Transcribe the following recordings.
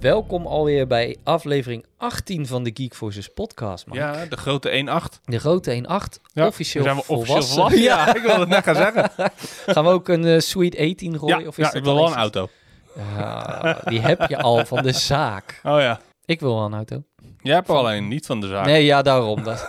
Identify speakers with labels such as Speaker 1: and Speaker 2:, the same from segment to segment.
Speaker 1: Welkom alweer bij aflevering 18 van de Geek Forces podcast, man.
Speaker 2: Ja, de grote 1-8.
Speaker 1: De grote 1.8,
Speaker 2: Ja,
Speaker 1: officieel
Speaker 2: zijn we officieel
Speaker 1: volwassen.
Speaker 2: volwassen. Ja, ik wilde het net gaan zeggen.
Speaker 1: Gaan we ook een eh, Sweet 18
Speaker 2: Ja,
Speaker 1: gooien? of is
Speaker 2: ja
Speaker 1: dat
Speaker 2: ik wil wel een
Speaker 1: iets-
Speaker 2: auto.
Speaker 1: Ah, die heb je al van de zaak.
Speaker 2: Oh ja.
Speaker 1: Ik wil wel een auto.
Speaker 2: Jij hebt er alleen niet van de zaak.
Speaker 1: Nee, ja, daarom. Dat.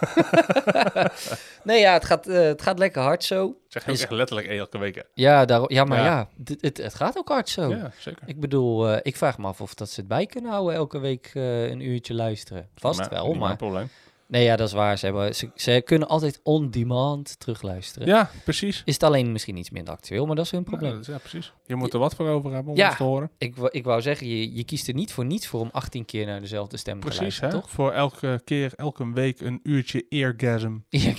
Speaker 1: nee, ja, het gaat, eh, het gaat lekker hard zo.
Speaker 2: Zeg je ook
Speaker 1: Is-
Speaker 2: echt letterlijk elke week. hè?
Speaker 1: Ja, daarom, ja maar ja,
Speaker 2: Ja.
Speaker 1: dit- het, het gaat ook hard zo.
Speaker 2: Ja, zeker.
Speaker 1: Ik bedoel, eh, ik vraag me af of dat ze het bij kunnen houden elke week eh, een uurtje luisteren. Vast
Speaker 2: Maar-
Speaker 1: wel,
Speaker 2: niet mijn
Speaker 1: maar...
Speaker 2: probleem.
Speaker 1: Nee, ja, dat is waar. Ze, hebben, ze, ze kunnen altijd on-demand terugluisteren.
Speaker 2: Ja, precies.
Speaker 1: Is het alleen misschien iets minder actueel, maar dat is hun probleem.
Speaker 2: Ja, dat is- ja, precies. Je moet er wat voor over hebben om
Speaker 1: Ja.
Speaker 2: ons te horen.
Speaker 1: ik, wou- ik wou zeggen, je, je kiest er niet voor niets voor om 18 keer naar dezelfde stem te
Speaker 2: Precies,
Speaker 1: luisteren,
Speaker 2: hè?
Speaker 1: toch?
Speaker 2: Voor elke keer, elke week een uurtje eargasm.
Speaker 1: Ja,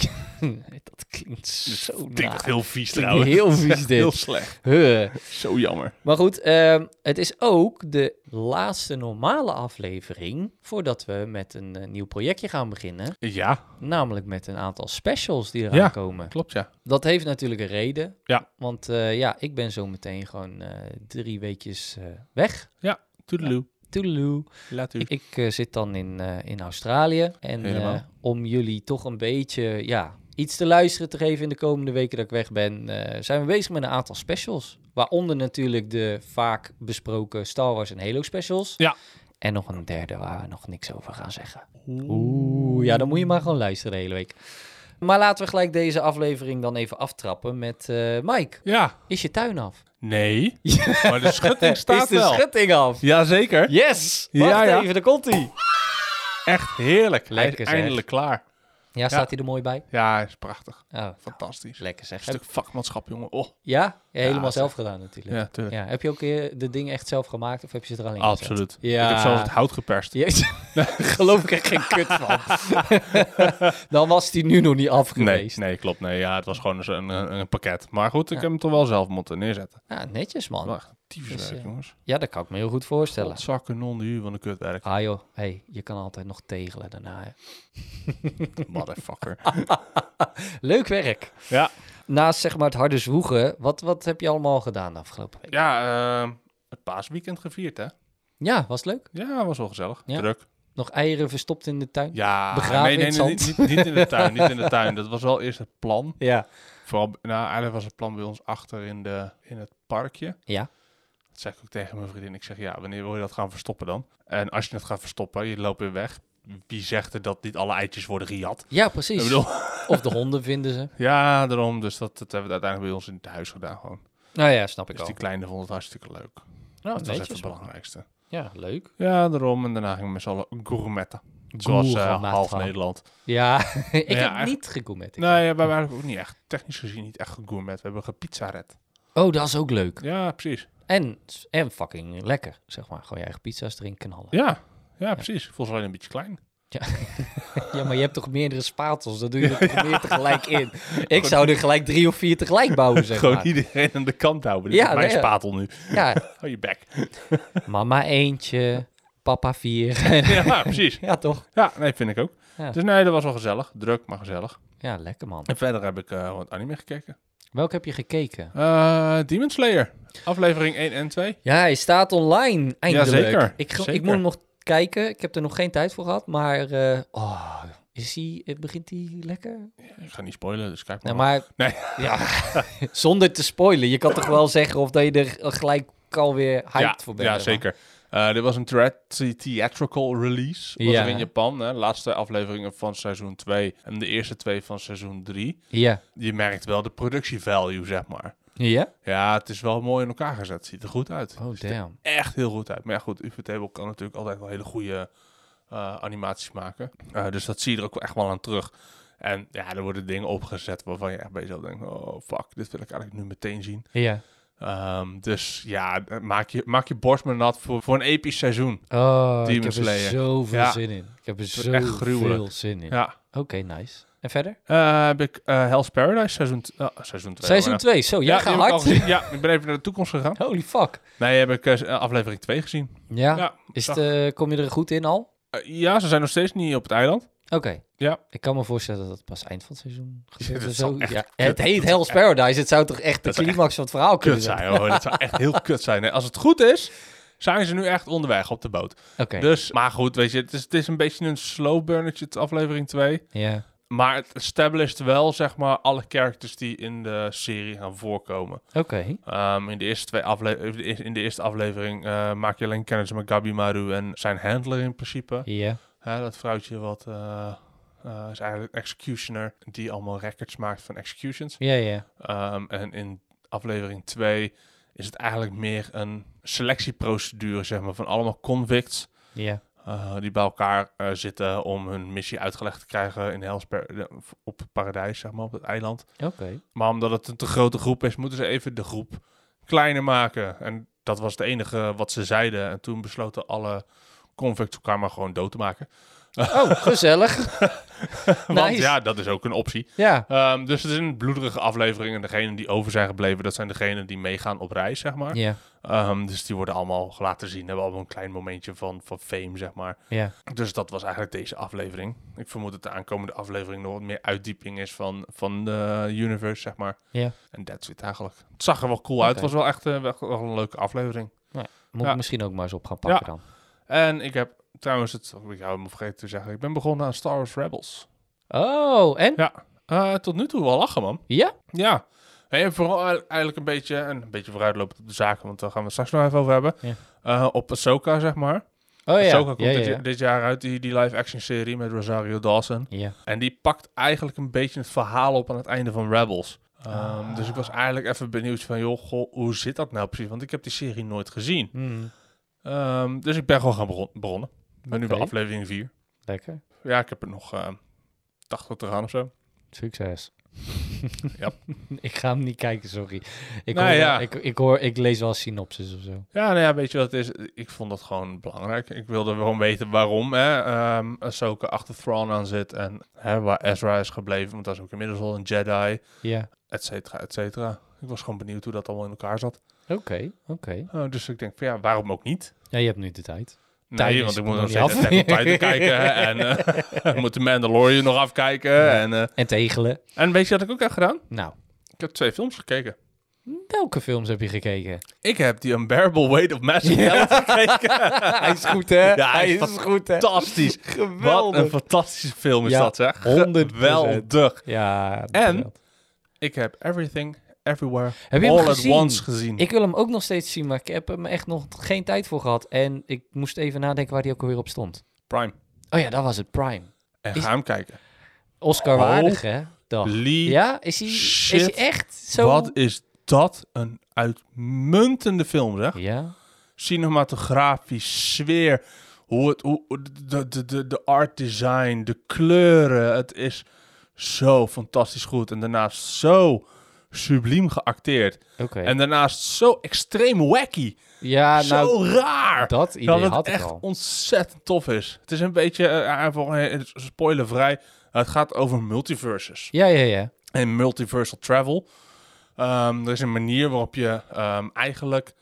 Speaker 1: dat klinkt zo naar.
Speaker 2: heel vies
Speaker 1: Klinkt heel vies
Speaker 2: Heel
Speaker 1: dit.
Speaker 2: slecht.
Speaker 1: Huh.
Speaker 2: Zo jammer.
Speaker 1: Maar goed, ehm, het is ook de laatste normale aflevering voordat we met een eh, nieuw projectje gaan beginnen.
Speaker 2: Ja,
Speaker 1: Namelijk met een aantal specials die eraan
Speaker 2: Ja.
Speaker 1: komen.
Speaker 2: klopt ja.
Speaker 1: Dat heeft natuurlijk een reden.
Speaker 2: Ja.
Speaker 1: Want eh, ja, ik ben zo meteen gewoon eh, drie weekjes eh, weg.
Speaker 2: Toedeloe.
Speaker 1: Toedeloe.
Speaker 2: Laat u.
Speaker 1: Ik, ik, eh, zit dan in, eh, in Australië. En eh,
Speaker 2: Helemaal.
Speaker 1: om jullie toch een beetje ja, iets te luisteren te geven in de komende weken dat ik weg ben, eh, zijn we bezig met een aantal specials. Waaronder natuurlijk de vaak besproken Star Wars en Halo specials.
Speaker 2: Ja.
Speaker 1: En nog een derde waar we nog niks over gaan zeggen. Oeh, ja, dan moet je maar gewoon luisteren de hele week. Maar laten we gelijk deze aflevering dan even aftrappen met eh, Mike.
Speaker 2: Ja.
Speaker 1: Is je tuin af?
Speaker 2: Nee. Maar de schutting staat
Speaker 1: is de
Speaker 2: wel.
Speaker 1: schutting af?
Speaker 2: Jazeker.
Speaker 1: Yes!
Speaker 2: Ja,
Speaker 1: Wacht
Speaker 2: ja.
Speaker 1: even, daar komt hij.
Speaker 2: Echt heerlijk. Hij is
Speaker 1: Lekker, zeg.
Speaker 2: Eindelijk klaar.
Speaker 1: Ja, staat hij er mooi bij?
Speaker 2: Ja, is prachtig.
Speaker 1: Oh,
Speaker 2: Fantastisch.
Speaker 1: lekker zeg.
Speaker 2: Stuk vakmanschap, jongen. Oh.
Speaker 1: Ja? Ja, helemaal
Speaker 2: zeg.
Speaker 1: zelf gedaan natuurlijk.
Speaker 2: Ja,
Speaker 1: Ja.
Speaker 2: tuurlijk.
Speaker 1: Heb je ook eh, de dingen echt zelf gemaakt of heb je ze er alleen in gezet?
Speaker 2: Absoluut.
Speaker 1: Ja.
Speaker 2: Ik heb zelfs het hout geperst.
Speaker 1: Jezus, geloof ik er geen kut van. Dan was die nu nog niet af
Speaker 2: Nee,
Speaker 1: geweest.
Speaker 2: nee, klopt. Nee, ja, het was gewoon een, een, een pakket. Maar goed, ik
Speaker 1: Ja.
Speaker 2: heb hem toch wel zelf moeten neerzetten.
Speaker 1: Ja, netjes man.
Speaker 2: Wacht, tyfuswerk,
Speaker 1: Dus, eh,
Speaker 2: jongens.
Speaker 1: Ja, dat kan ik me heel goed voorstellen.
Speaker 2: Zakken non de huur van de kutwerk.
Speaker 1: Ah joh, hey, je kan altijd nog tegelen daarna. hè.
Speaker 2: Motherfucker.
Speaker 1: Leuk werk.
Speaker 2: ja,
Speaker 1: Naast zeg maar het harde zwoegen, wat, wat heb je allemaal gedaan de afgelopen week?
Speaker 2: ja ehm, het paasweekend gevierd, hè?
Speaker 1: Ja, was het leuk.
Speaker 2: Ja, was wel gezellig.
Speaker 1: Ja.
Speaker 2: Druk.
Speaker 1: Nog eieren verstopt in de tuin?
Speaker 2: Ja,
Speaker 1: Begraven
Speaker 2: nee,
Speaker 1: in
Speaker 2: nee,
Speaker 1: het
Speaker 2: nee,
Speaker 1: zand.
Speaker 2: niet, niet- niet in de tuin. Niet in de tuin. Dat was wel eerst het plan.
Speaker 1: Ja.
Speaker 2: Vooral, b- nou, eigenlijk was het plan bij ons achter in, de, in het parkje.
Speaker 1: Ja.
Speaker 2: Dat zei ik ook tegen mijn vriendin. Ik zeg, ja, wanneer wil je dat gaan verstoppen dan? En als je het gaat verstoppen, je loopt weer weg. Wie zegt er dat niet alle eitjes worden gejat?
Speaker 1: Ja,
Speaker 2: Ik
Speaker 1: precies.
Speaker 2: bedoel,
Speaker 1: Of de honden vinden ze.
Speaker 2: ja, daarom. Dus dat, dat hebben we uiteindelijk bij ons in het huis gedaan gewoon.
Speaker 1: Nou ja, snap ik
Speaker 2: Dus
Speaker 1: al.
Speaker 2: die kleine vond het hartstikke leuk.
Speaker 1: Nou,
Speaker 2: dat was
Speaker 1: netjes,
Speaker 2: echt het
Speaker 1: man.
Speaker 2: belangrijkste.
Speaker 1: Ja, leuk.
Speaker 2: Oh, Ja, daarom. En daarna gingen we met z'n allen gourmetten. Zoals eh,
Speaker 1: Gourmet
Speaker 2: half
Speaker 1: gaan.
Speaker 2: Nederland.
Speaker 1: Ja, ik heb
Speaker 2: eigenlijk-
Speaker 1: niet gegourmet.
Speaker 2: Nee, we hebben eigenlijk ook niet echt, technisch gezien, niet echt gegourmet. We hebben gepizzaret.
Speaker 1: Oh, dat is ook leuk.
Speaker 2: Ja, precies.
Speaker 1: En, en fucking lekker, zeg maar. Gewoon je eigen pizza's erin knallen. Ja.
Speaker 2: Ja, ja precies. Volgens mij een beetje klein.
Speaker 1: maar je hebt toch meerdere spatels? Dan doe je er toch meer tegelijk in? Ik zou er gelijk drie of vier tegelijk bouwen, zeg
Speaker 2: Gewoon
Speaker 1: maar.
Speaker 2: iedereen aan de kant houden. Dit
Speaker 1: Ja,
Speaker 2: is mijn
Speaker 1: nee, ja.
Speaker 2: spatel nu.
Speaker 1: Ja,
Speaker 2: Hou je bek.
Speaker 1: mama eentje, papa vier.
Speaker 2: ja, precies.
Speaker 1: ja, toch?
Speaker 2: Ja, nee, vind ik ook.
Speaker 1: Ja.
Speaker 2: Dus nee, dat was wel gezellig. Druk, maar gezellig.
Speaker 1: Ja, lekker man.
Speaker 2: En verder heb ik eh, wat anime gekeken.
Speaker 1: Welk heb je gekeken?
Speaker 2: Eh Demon Slayer. Aflevering 1 en 2.
Speaker 1: Ja, hij staat online, eindelijk.
Speaker 2: zeker.
Speaker 1: Ik, ge- ik
Speaker 2: Zeker.
Speaker 1: moet hem nog kijken. Ik heb er nog geen tijd voor gehad, maar... eh, oh, is hij, eh, begint hij lekker?
Speaker 2: Ik ga niet spoilen, dus kijk maar.
Speaker 1: Nou, maar
Speaker 2: Nee.
Speaker 1: ja, zonder te spoilen, je kan toch wel zeggen of dat je er gelijk alweer hyped
Speaker 2: ja,
Speaker 1: voor bent.
Speaker 2: ja,
Speaker 1: zeg maar.
Speaker 2: zeker. Eh, dit was een thea- theatrical release. Was
Speaker 1: Ja.
Speaker 2: er in Japan. Hè? Laatste afleveringen van seizoen 2 en de eerste twee van seizoen 3.
Speaker 1: Ja.
Speaker 2: Je merkt wel de productievalue, zeg maar.
Speaker 1: Ja?
Speaker 2: Ja, het is wel mooi in elkaar gezet. Ziet er goed uit.
Speaker 1: Oh, damn.
Speaker 2: echt heel goed uit. Maar ja, goed, Ufotable kan natuurlijk altijd wel hele goede eh, animaties maken. Eh, dus dat zie je er ook echt wel aan terug. En ja, er worden dingen opgezet waarvan je echt bij jezelf denkt... oh, fuck, dit wil ik eigenlijk nu meteen zien.
Speaker 1: Ja.
Speaker 2: Ehm, dus ja, eh, maak je, maak je borst maar nat voor, voor een episch seizoen.
Speaker 1: Oh, ik
Speaker 2: Demon
Speaker 1: heb er
Speaker 2: Slayer.
Speaker 1: zoveel
Speaker 2: Ja.
Speaker 1: zin in. Ik heb er
Speaker 2: wordt echt
Speaker 1: zoveel
Speaker 2: gruwelijk.
Speaker 1: zin in.
Speaker 2: Ja.
Speaker 1: Oké, nice. En verder?
Speaker 2: Eh, heb ik eh, Hell's Paradise seizoen... t- ah, seizoen 2.
Speaker 1: Seizoen 2, zo, jij gaat hard.
Speaker 2: Ja, ik ben even naar de toekomst gegaan.
Speaker 1: Holy fuck.
Speaker 2: Nee, heb ik eh, aflevering 2 gezien.
Speaker 1: Ja,
Speaker 2: Ja,
Speaker 1: is
Speaker 2: zag-
Speaker 1: het, eh, kom je er goed in al?
Speaker 2: Eh, ja, ze zijn nog steeds niet op het eiland.
Speaker 1: Oké.
Speaker 2: Ja.
Speaker 1: Ik kan me voorstellen dat dat pas eind van het seizoen gebeurt.
Speaker 2: dat
Speaker 1: of zo.
Speaker 2: zou echt
Speaker 1: Ja,
Speaker 2: kut-
Speaker 1: het heet
Speaker 2: dat zou
Speaker 1: Hell's Paradise. Het zou toch echt de
Speaker 2: dat zou
Speaker 1: climax van het verhaal kunnen
Speaker 2: kut
Speaker 1: zijn?
Speaker 2: zijn. hoor. Dat zou echt heel kut zijn. Nee, als het goed is, zijn ze nu echt onderweg op de boot.
Speaker 1: Oké,
Speaker 2: Dus, maar goed, weet je, het is, het is een beetje een slow burnertje, het aflevering 2.
Speaker 1: ja.
Speaker 2: Maar het established wel, zeg maar, alle characters die in de serie gaan voorkomen.
Speaker 1: Oké,
Speaker 2: Ehm, in, de eerste twee afle- in de eerste aflevering eh, maak je alleen kennis met Gabi Maru en zijn handler in principe.
Speaker 1: ja.
Speaker 2: Hè, dat vrouwtje wat eh, eh, is eigenlijk een executioner die allemaal records maakt van executions.
Speaker 1: Ja, ja.
Speaker 2: Ehm, en in aflevering 2 is het eigenlijk meer een selectieprocedure, zeg maar, van allemaal convicts.
Speaker 1: Ja,
Speaker 2: eh, die bij elkaar eh, zitten om hun missie uitgelegd te krijgen in Hell's Par- eh, op het paradijs, zeg maar, op het eiland.
Speaker 1: oké.
Speaker 2: Maar omdat het een te grote groep is, moeten ze even de groep kleiner maken. En dat was het enige wat ze zeiden. En toen besloten alle convicts elkaar maar gewoon dood te maken.
Speaker 1: Oh, gezellig.
Speaker 2: Want
Speaker 1: Nice.
Speaker 2: ja, dat is ook een optie.
Speaker 1: Ja,
Speaker 2: Ehm, dus het is een bloederige aflevering. En degenen die over zijn gebleven, dat zijn degenen die meegaan op reis, zeg maar.
Speaker 1: ja,
Speaker 2: Ehm, dus die worden allemaal laten zien. Hebben allemaal een klein momentje van, van fame, zeg maar.
Speaker 1: ja.
Speaker 2: Dus dat was eigenlijk deze aflevering. Ik vermoed dat de aankomende aflevering nog wat meer uitdieping is van, van de universe, zeg maar.
Speaker 1: Ja.
Speaker 2: En that's it eigenlijk. Het zag er wel cool uit.
Speaker 1: Oké.
Speaker 2: Het was wel echt eh, wel, wel een leuke aflevering.
Speaker 1: Moet
Speaker 2: Ja.
Speaker 1: ik misschien ook maar eens op gaan pakken dan.
Speaker 2: En ik heb trouwens, het, oh, ik hou hem vergeten te zeggen, ik ben begonnen aan Star Wars Rebels.
Speaker 1: Oh, en?
Speaker 2: Ja. Eh, tot nu toe wel lachen, man.
Speaker 1: Ja?
Speaker 2: Ja. En vooral eigenlijk- eigenlijk een beetje, en een beetje vooruitlopend op de zaken, want daar gaan we het straks nog even over hebben.
Speaker 1: Ja.
Speaker 2: Eh, op Ahsoka, zeg maar.
Speaker 1: Oh ja.
Speaker 2: Ahsoka komt
Speaker 1: ja,
Speaker 2: dit,
Speaker 1: ja, ja.
Speaker 2: dit jaar uit, die, die live-action serie met Rosario Dawson.
Speaker 1: Ja.
Speaker 2: En die pakt eigenlijk een beetje het verhaal op aan het einde van Rebels. Ehm,
Speaker 1: Ah.
Speaker 2: Dus ik was eigenlijk even benieuwd van, joh, goh, hoe zit dat nou precies? Want ik heb die serie nooit gezien.
Speaker 1: Hmm,
Speaker 2: Ehm, dus ik ben gewoon gaan begon- begonnen. Ik ben nu bij
Speaker 1: Oké.
Speaker 2: aflevering 4.
Speaker 1: lekker.
Speaker 2: Ja, ik heb er nog ehm 80 te gaan of zo.
Speaker 1: Succes.
Speaker 2: Ja.
Speaker 1: ik ga hem niet kijken, sorry. Ik,
Speaker 2: Nou
Speaker 1: hoor,
Speaker 2: ja.
Speaker 1: ik, ik, hoor, ik lees wel synopsis of zo.
Speaker 2: Ja, nou ja, weet je wat het is? Ik vond dat gewoon belangrijk. Ik wilde gewoon weten waarom hè, ehm Ahsoka achter Thrawn aan zit. En hè, waar Ezra is gebleven, want dat is ook inmiddels al een Jedi,
Speaker 1: Ja,
Speaker 2: et cetera, et cetera. Ik was gewoon benieuwd hoe dat allemaal in elkaar zat.
Speaker 1: oké, oké.
Speaker 2: Eh, dus ik denk van, ja, waarom ook niet?
Speaker 1: Ja, je hebt nu de tijd. Tijd
Speaker 2: Nee,
Speaker 1: is
Speaker 2: want ik
Speaker 1: er
Speaker 2: moet nog
Speaker 1: nog
Speaker 2: steeds
Speaker 1: niet af.
Speaker 2: Attack on Titan kijken. hè, En eh, ik moet de Mandalorian nog afkijken. En, eh,
Speaker 1: En tegelen.
Speaker 2: en weet je wat ik ook heb gedaan?
Speaker 1: Nou,
Speaker 2: Ik heb twee films gekeken.
Speaker 1: welke films heb je gekeken?
Speaker 2: Ik heb die Unbearable Weight of Massive Talent gekeken.
Speaker 1: hij is goed, hè?
Speaker 2: Ja, hij is
Speaker 1: goed, hè?
Speaker 2: Fantastisch. Wat een
Speaker 1: Geweldig.
Speaker 2: fantastische film is
Speaker 1: Ja,
Speaker 2: dat, zeg.
Speaker 1: 100%.
Speaker 2: Geweldig.
Speaker 1: Ja,
Speaker 2: En?
Speaker 1: geweldig.
Speaker 2: Ik heb Everything, Everywhere,
Speaker 1: Heb je hem
Speaker 2: All at
Speaker 1: gezien?
Speaker 2: Once gezien.
Speaker 1: Ik wil hem ook nog steeds zien, maar ik heb hem echt nog geen tijd voor gehad. En ik moest even nadenken waar hij ook alweer op stond.
Speaker 2: Prime.
Speaker 1: Oh ja, dat was het, Prime.
Speaker 2: En
Speaker 1: Is-
Speaker 2: ga hem kijken.
Speaker 1: Oscar waardig, hè? Dag.
Speaker 2: Oh. Lee,
Speaker 1: Ja, is hij, is
Speaker 2: shit.
Speaker 1: hij echt zo...
Speaker 2: wat is dat een uitmuntende film, zeg.
Speaker 1: Ja,
Speaker 2: cinematografisch, sfeer, hoe het, hoe, de, de, de, de art design, de kleuren. Het is zo fantastisch goed. En daarnaast zo subliem geacteerd.
Speaker 1: oké.
Speaker 2: En daarnaast zo extreem wacky.
Speaker 1: Ja, nou,
Speaker 2: zo raar.
Speaker 1: dat
Speaker 2: Dat
Speaker 1: idee
Speaker 2: het
Speaker 1: had ik
Speaker 2: echt
Speaker 1: al.
Speaker 2: ontzettend tof is. Het is een beetje, eh, eh, voor- eh, spoilervrij, het gaat over multiverses
Speaker 1: Ja, ja, ja.
Speaker 2: en multiversal travel. Ehm, er is een manier waarop je ehm, eigenlijk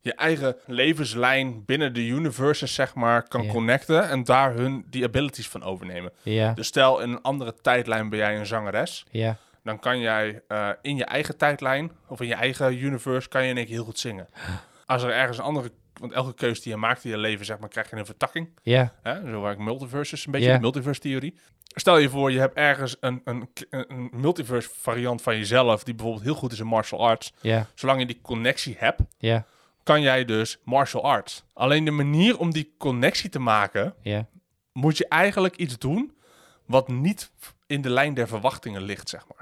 Speaker 2: je eigen levenslijn binnen de universes, zeg maar, kan
Speaker 1: Ja.
Speaker 2: connecten en daar hun die abilities van overnemen.
Speaker 1: Ja,
Speaker 2: Dus stel, in een andere tijdlijn ben jij een zangeres.
Speaker 1: ja.
Speaker 2: Dan kan jij eh, in je eigen tijdlijn of in je eigen universe kan je in één keer heel goed zingen. Als er ergens een andere, want elke keuze die je maakt in je leven, zeg maar, krijg je een vertakking.
Speaker 1: Ja,
Speaker 2: Hè? Zo waar ik multiverses een beetje,
Speaker 1: Ja.
Speaker 2: de multiverse-theorie. Stel je voor, je hebt ergens een, een, een multiverse-variant van jezelf... die bijvoorbeeld heel goed is in martial arts.
Speaker 1: ja,
Speaker 2: Zolang je die connectie hebt,
Speaker 1: ja,
Speaker 2: kan jij dus martial arts. Alleen de manier om die connectie te maken...
Speaker 1: ja.
Speaker 2: moet je eigenlijk iets doen wat niet in de lijn der verwachtingen ligt, zeg maar.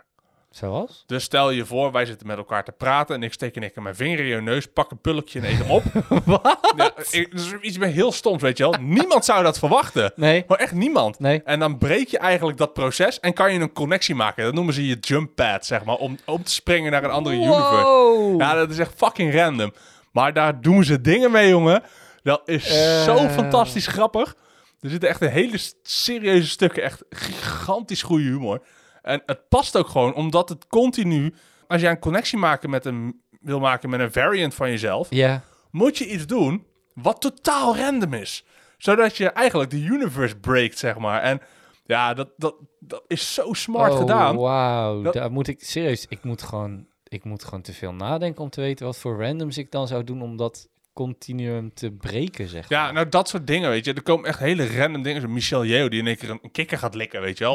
Speaker 1: Zoals?
Speaker 2: Dus stel je voor, wij zitten met elkaar te praten... en ik steek in één keer mijn vinger in je neus, pak een pulkje en eet hem op. Ja, ik- dus iets heel stoms, weet je wel. Niemand zou dat verwachten.
Speaker 1: Nee,
Speaker 2: Maar echt niemand.
Speaker 1: nee.
Speaker 2: En dan breek je eigenlijk dat proces en kan je een connectie maken. Dat noemen ze je jump pad, zeg maar, om, om te springen naar een andere universe.
Speaker 1: Wow.
Speaker 2: Ja, dat is echt fucking random. Maar daar doen ze dingen mee, jongen. Dat is
Speaker 1: Eh.
Speaker 2: zo fantastisch grappig. Er zitten echt een hele s- serieuze stukken, echt gigantisch goede humor. En het past ook gewoon, omdat het continu... Als jij een connectie maken met een, wil maken met een variant van jezelf
Speaker 1: Ja,
Speaker 2: moet je iets doen wat totaal random is. Zodat je eigenlijk de universe breakt, zeg maar. En ja, dat, dat, dat is zo smart
Speaker 1: Oh,
Speaker 2: gedaan.
Speaker 1: Wauw,
Speaker 2: Dat-
Speaker 1: daar moet ik serieus. Ik moet gewoon, ik moet gewoon te veel nadenken om te weten wat voor randoms ik dan zou doen om dat continuum te breken, zeg maar.
Speaker 2: Ja, nou dat soort dingen, weet je. Er komen echt hele random dingen. Zo Michel Yeoh die in één keer een, een kikker gaat likken, weet je wel.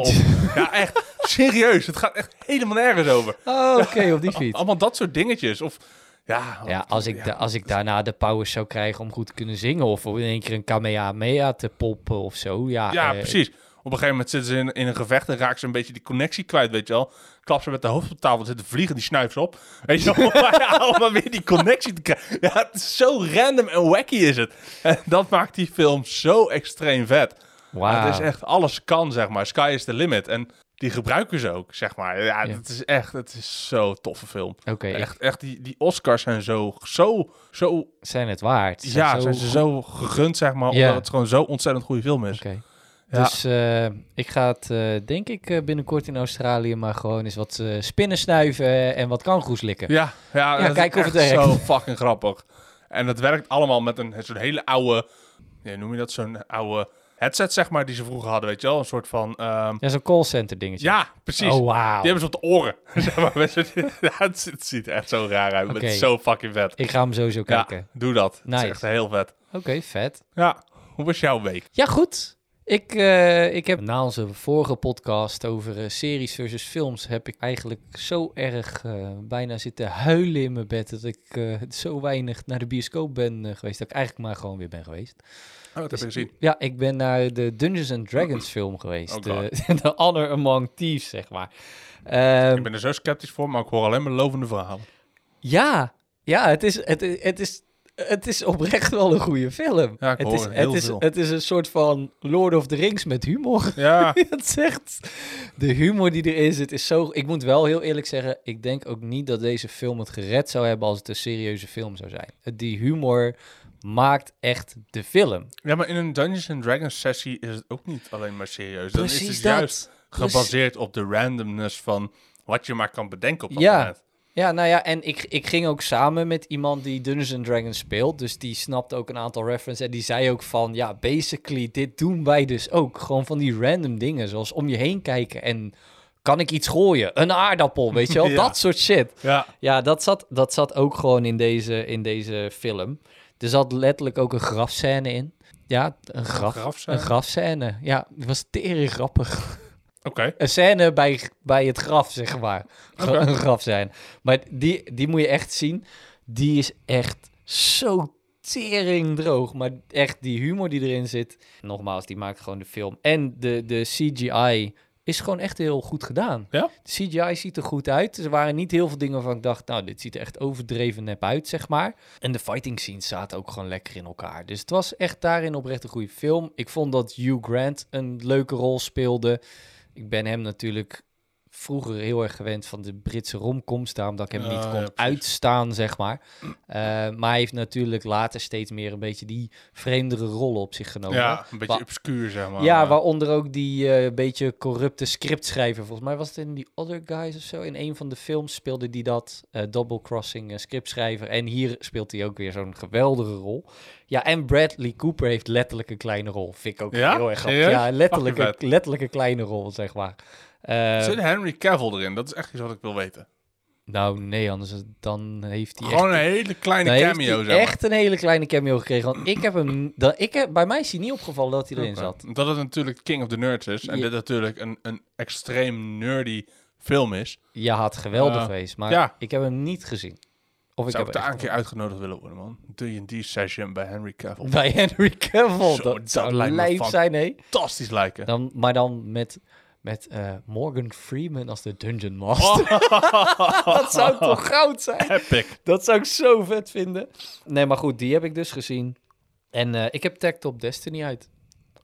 Speaker 2: Of, ja, echt. Serieus, het gaat echt helemaal nergens over.
Speaker 1: Oh, oké, op die fiets.
Speaker 2: Allemaal dat soort dingetjes. Of, ja.
Speaker 1: Ja,
Speaker 2: of-
Speaker 1: als ik, da- als ik daarna de powers zou krijgen om goed te kunnen zingen... of in één keer een kamehameha te poppen of zo. Ja,
Speaker 2: Ja,
Speaker 1: eh,
Speaker 2: precies. Op een gegeven moment zitten ze in, in een gevecht en raken ze een beetje die connectie kwijt, weet je wel. Klap ze met de hoofd op tafel, er zitten vliegen, die snuiven ze op. Weet je wel, maar ja, om maar weer die connectie te krijgen. Ja, het is zo random en wacky is het. En dat maakt die film zo extreem vet. Ja,
Speaker 1: Wauw.
Speaker 2: het is echt, alles kan, zeg maar. Sky is the limit. En die gebruiken ze ook, zeg maar. Ja,
Speaker 1: Ja.
Speaker 2: het is echt, het is zo'n toffe film.
Speaker 1: Oké, ik-
Speaker 2: Echt, echt die, die Oscars zijn zo, zo, zo,
Speaker 1: zijn het waard. Zijn
Speaker 2: ja,
Speaker 1: zo
Speaker 2: zijn ze
Speaker 1: goed.
Speaker 2: zo gegund, zeg maar.
Speaker 1: Ja.
Speaker 2: Omdat het gewoon zo ontzettend goede film is.
Speaker 1: Oké.
Speaker 2: Ja.
Speaker 1: Dus eh, ik ga het, eh, denk ik, eh, binnenkort in Australië maar gewoon eens wat eh, spinnen snuiven en wat kangoes likken.
Speaker 2: Ja, ja,
Speaker 1: Ja,
Speaker 2: dat
Speaker 1: kijk
Speaker 2: is
Speaker 1: of het
Speaker 2: echt
Speaker 1: werkt.
Speaker 2: zo fucking grappig. En dat werkt allemaal met een zo'n hele oude, ja, noem je dat, zo'n oude headset, zeg maar, die ze vroeger hadden, weet je wel? Een soort van, ehm,
Speaker 1: Ja, zo'n callcenter dingetje.
Speaker 2: ja, precies.
Speaker 1: Oh, wauw.
Speaker 2: Die hebben ze op de oren. zeg maar, met zo'n- ja, het, ziet- het ziet er echt zo raar uit, maar het is
Speaker 1: Oké.
Speaker 2: zo fucking vet.
Speaker 1: Ik ga hem sowieso
Speaker 2: Ja,
Speaker 1: kijken.
Speaker 2: doe dat. Het
Speaker 1: Nice.
Speaker 2: is echt heel vet.
Speaker 1: Oké, vet.
Speaker 2: Ja, hoe was jouw week?
Speaker 1: Ja, goed. Ik, eh, ik heb na onze vorige podcast over eh, series versus films... heb ik eigenlijk zo erg eh, bijna zitten huilen in mijn bed... dat ik eh, zo weinig naar de bioscoop ben eh, geweest... dat ik eigenlijk maar gewoon weer ben geweest.
Speaker 2: Oh, dat heb ik gezien.
Speaker 1: Ja, ik ben naar de Dungeons and Dragons film geweest.
Speaker 2: Oh
Speaker 1: de, de Honor Among Thieves, zeg maar.
Speaker 2: Ik
Speaker 1: Ehm,
Speaker 2: ben er zo sceptisch voor, maar ik hoor alleen maar lovende verhalen.
Speaker 1: Ja, ja het, is, het, is- het, is, het is oprecht wel een goede film.
Speaker 2: Ja, ik
Speaker 1: het,
Speaker 2: hoor
Speaker 1: is,
Speaker 2: heel
Speaker 1: het, is,
Speaker 2: veel.
Speaker 1: het is een soort van Lord of the Rings met humor.
Speaker 2: Ja,
Speaker 1: Dat zegt de humor die erin zit is zo. Ik moet wel heel eerlijk zeggen, ik denk ook niet dat deze film het gered zou hebben als het een serieuze film zou zijn. Die humor maakt echt de film.
Speaker 2: ja maar in een Dungeons and Dragons sessie is het ook niet alleen maar serieus. Dan is
Speaker 1: Precies
Speaker 2: het
Speaker 1: dat.
Speaker 2: juist gebaseerd op de randomness van wat je maar kan bedenken op dat
Speaker 1: Ja.
Speaker 2: moment.
Speaker 1: Ja, nou ja, en ik, ik ging ook samen met iemand die Dungeons and Dragons speelt. Dus die snapte ook een aantal references. En die zei ook van, ja, basically, dit doen wij dus ook. Gewoon van die random dingen, zoals om je heen kijken en... Kan ik iets gooien? Een aardappel, weet je wel?
Speaker 2: Ja.
Speaker 1: Dat soort shit.
Speaker 2: Ja,
Speaker 1: Ja, dat zat, dat zat ook gewoon in deze, in deze film. Er zat letterlijk ook een grafscène in. Ja, een graf.
Speaker 2: grafscène?
Speaker 1: Een grafscène. Ja, het was tering grappig
Speaker 2: oké.
Speaker 1: een scène bij, bij het graf, zeg maar. Ge-
Speaker 2: Oké.
Speaker 1: Een graf zijn. Maar die, die moet je echt zien. Die is echt zo tering droog. Maar echt die humor die erin zit. Nogmaals, die maakt gewoon de film. En de, de CGI is gewoon echt heel goed gedaan.
Speaker 2: Ja?
Speaker 1: De CGI ziet er goed uit. Er waren niet heel veel dingen waarvan ik dacht... nou, dit ziet er echt overdreven nep uit, zeg maar. En de fighting scenes zaten ook gewoon lekker in elkaar. Dus het was echt daarin oprecht een goede film. Ik vond dat Hugh Grant een leuke rol speelde. Ik ben hem natuurlijk vroeger heel erg gewend van de Britse romcoms. Daarom dat ik hem
Speaker 2: Ja,
Speaker 1: niet kon
Speaker 2: Oh, ja, precies.
Speaker 1: uitstaan, zeg maar. Eh, maar hij heeft natuurlijk later steeds meer een beetje die vreemdere rollen op zich genomen.
Speaker 2: Ja, een beetje
Speaker 1: Wa-
Speaker 2: obscuur, zeg maar.
Speaker 1: Ja,
Speaker 2: Eh,
Speaker 1: waaronder ook die eh, beetje corrupte scriptschrijver. Volgens mij was het in die Other Guys of zo. In een van de films speelde die dat. eh, double Crossing eh, scriptschrijver. En hier speelt hij ook weer zo'n geweldige rol. Ja, en Bradley Cooper heeft letterlijk een kleine rol. Vind ik ook
Speaker 2: Ja?
Speaker 1: heel erg grappig.
Speaker 2: Serieus?
Speaker 1: Ja, letterlijk
Speaker 2: Fucking
Speaker 1: een, letterlijk een kleine rol, zeg maar. Eh,
Speaker 2: Zit Henry Cavill erin? Dat is echt iets wat ik wil weten.
Speaker 1: nou, nee, anders dan heeft hij echt...
Speaker 2: Gewoon een hele kleine
Speaker 1: dan heeft
Speaker 2: cameo,
Speaker 1: hij
Speaker 2: zeg maar.
Speaker 1: echt een hele kleine cameo gekregen. Want ik heb hem... Dat, ik heb, bij mij is hij niet opgevallen dat hij erin
Speaker 2: Oké.
Speaker 1: zat.
Speaker 2: Dat het natuurlijk King of the Nerds is. En
Speaker 1: Ja.
Speaker 2: dit natuurlijk een, een extreem nerdy film is.
Speaker 1: Je had geweldig
Speaker 2: Eh,
Speaker 1: geweest, maar
Speaker 2: ja.
Speaker 1: ik heb hem niet gezien. Of ik
Speaker 2: Zou
Speaker 1: heb
Speaker 2: ik daar
Speaker 1: echt-
Speaker 2: een keer uitgenodigd willen worden, man. D&D-session bij Henry Cavill.
Speaker 1: bij Henry Cavill.
Speaker 2: Zo,
Speaker 1: dat
Speaker 2: dat
Speaker 1: zou
Speaker 2: lijkt me
Speaker 1: lijf
Speaker 2: fan-
Speaker 1: zijn, hé.
Speaker 2: Fantastisch lijken.
Speaker 1: Dan, maar dan met, met eh, Morgan Freeman als de Dungeon Master. dat zou toch goud zijn?
Speaker 2: Epic.
Speaker 1: Dat zou ik zo vet vinden. Nee, maar goed, die heb ik dus gezien. En eh, ik heb Tech Top Destiny uit.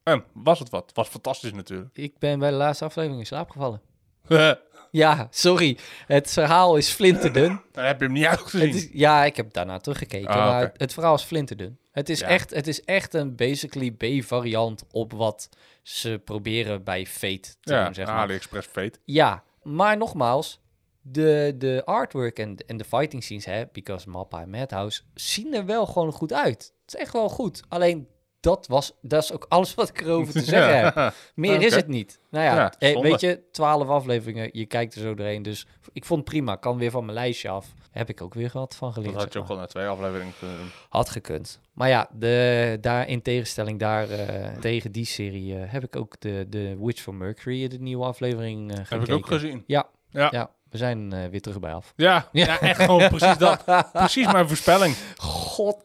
Speaker 2: En was het wat. Was fantastisch natuurlijk.
Speaker 1: Ik ben bij de laatste aflevering in slaap gevallen.
Speaker 2: Dan
Speaker 1: Ja, sorry. Het verhaal is flinterdun.
Speaker 2: heb je hem niet
Speaker 1: Het
Speaker 2: uitgezien.
Speaker 1: is, ja, ik heb daarna teruggekeken.
Speaker 2: Ah,
Speaker 1: maar
Speaker 2: oké.
Speaker 1: het, het verhaal is flinterdun. Het is,
Speaker 2: Ja.
Speaker 1: echt, het is echt een basically B-variant op wat ze proberen bij Fate te
Speaker 2: ja,
Speaker 1: doen, zeg maar.
Speaker 2: AliExpress Fate.
Speaker 1: Ja, maar nogmaals, de, de artwork en, en de fighting scenes, hè, because Mappa en Madhouse, zien er wel gewoon goed uit. Het is echt wel goed. Alleen dat was, dat is ook alles wat ik erover te zeggen heb. Meer is
Speaker 2: Ah, Oké.
Speaker 1: het niet. Nou ja,
Speaker 2: Ja,
Speaker 1: eh,
Speaker 2: zonde.
Speaker 1: weet je, twaalf afleveringen, je kijkt er zo doorheen. Dus ik vond het prima, kan weer van mijn lijstje af. Heb ik ook weer wat van geleerd.
Speaker 2: Dat had je
Speaker 1: zeg
Speaker 2: ook al na twee
Speaker 1: eh,
Speaker 2: afleveringen kunnen doen.
Speaker 1: maar. Had gekund. Maar ja, de, daar in tegenstelling daar, eh, tegen die serie eh, heb ik ook de, de Witch from Mercury, de nieuwe aflevering eh gekeken.
Speaker 2: Heb ik ook gezien.
Speaker 1: Ja,
Speaker 2: Ja.
Speaker 1: ja. we zijn eh, weer terug bij af.
Speaker 2: Ja,
Speaker 1: Ja.
Speaker 2: ja. echt gewoon precies dat. Precies mijn voorspelling.
Speaker 1: God.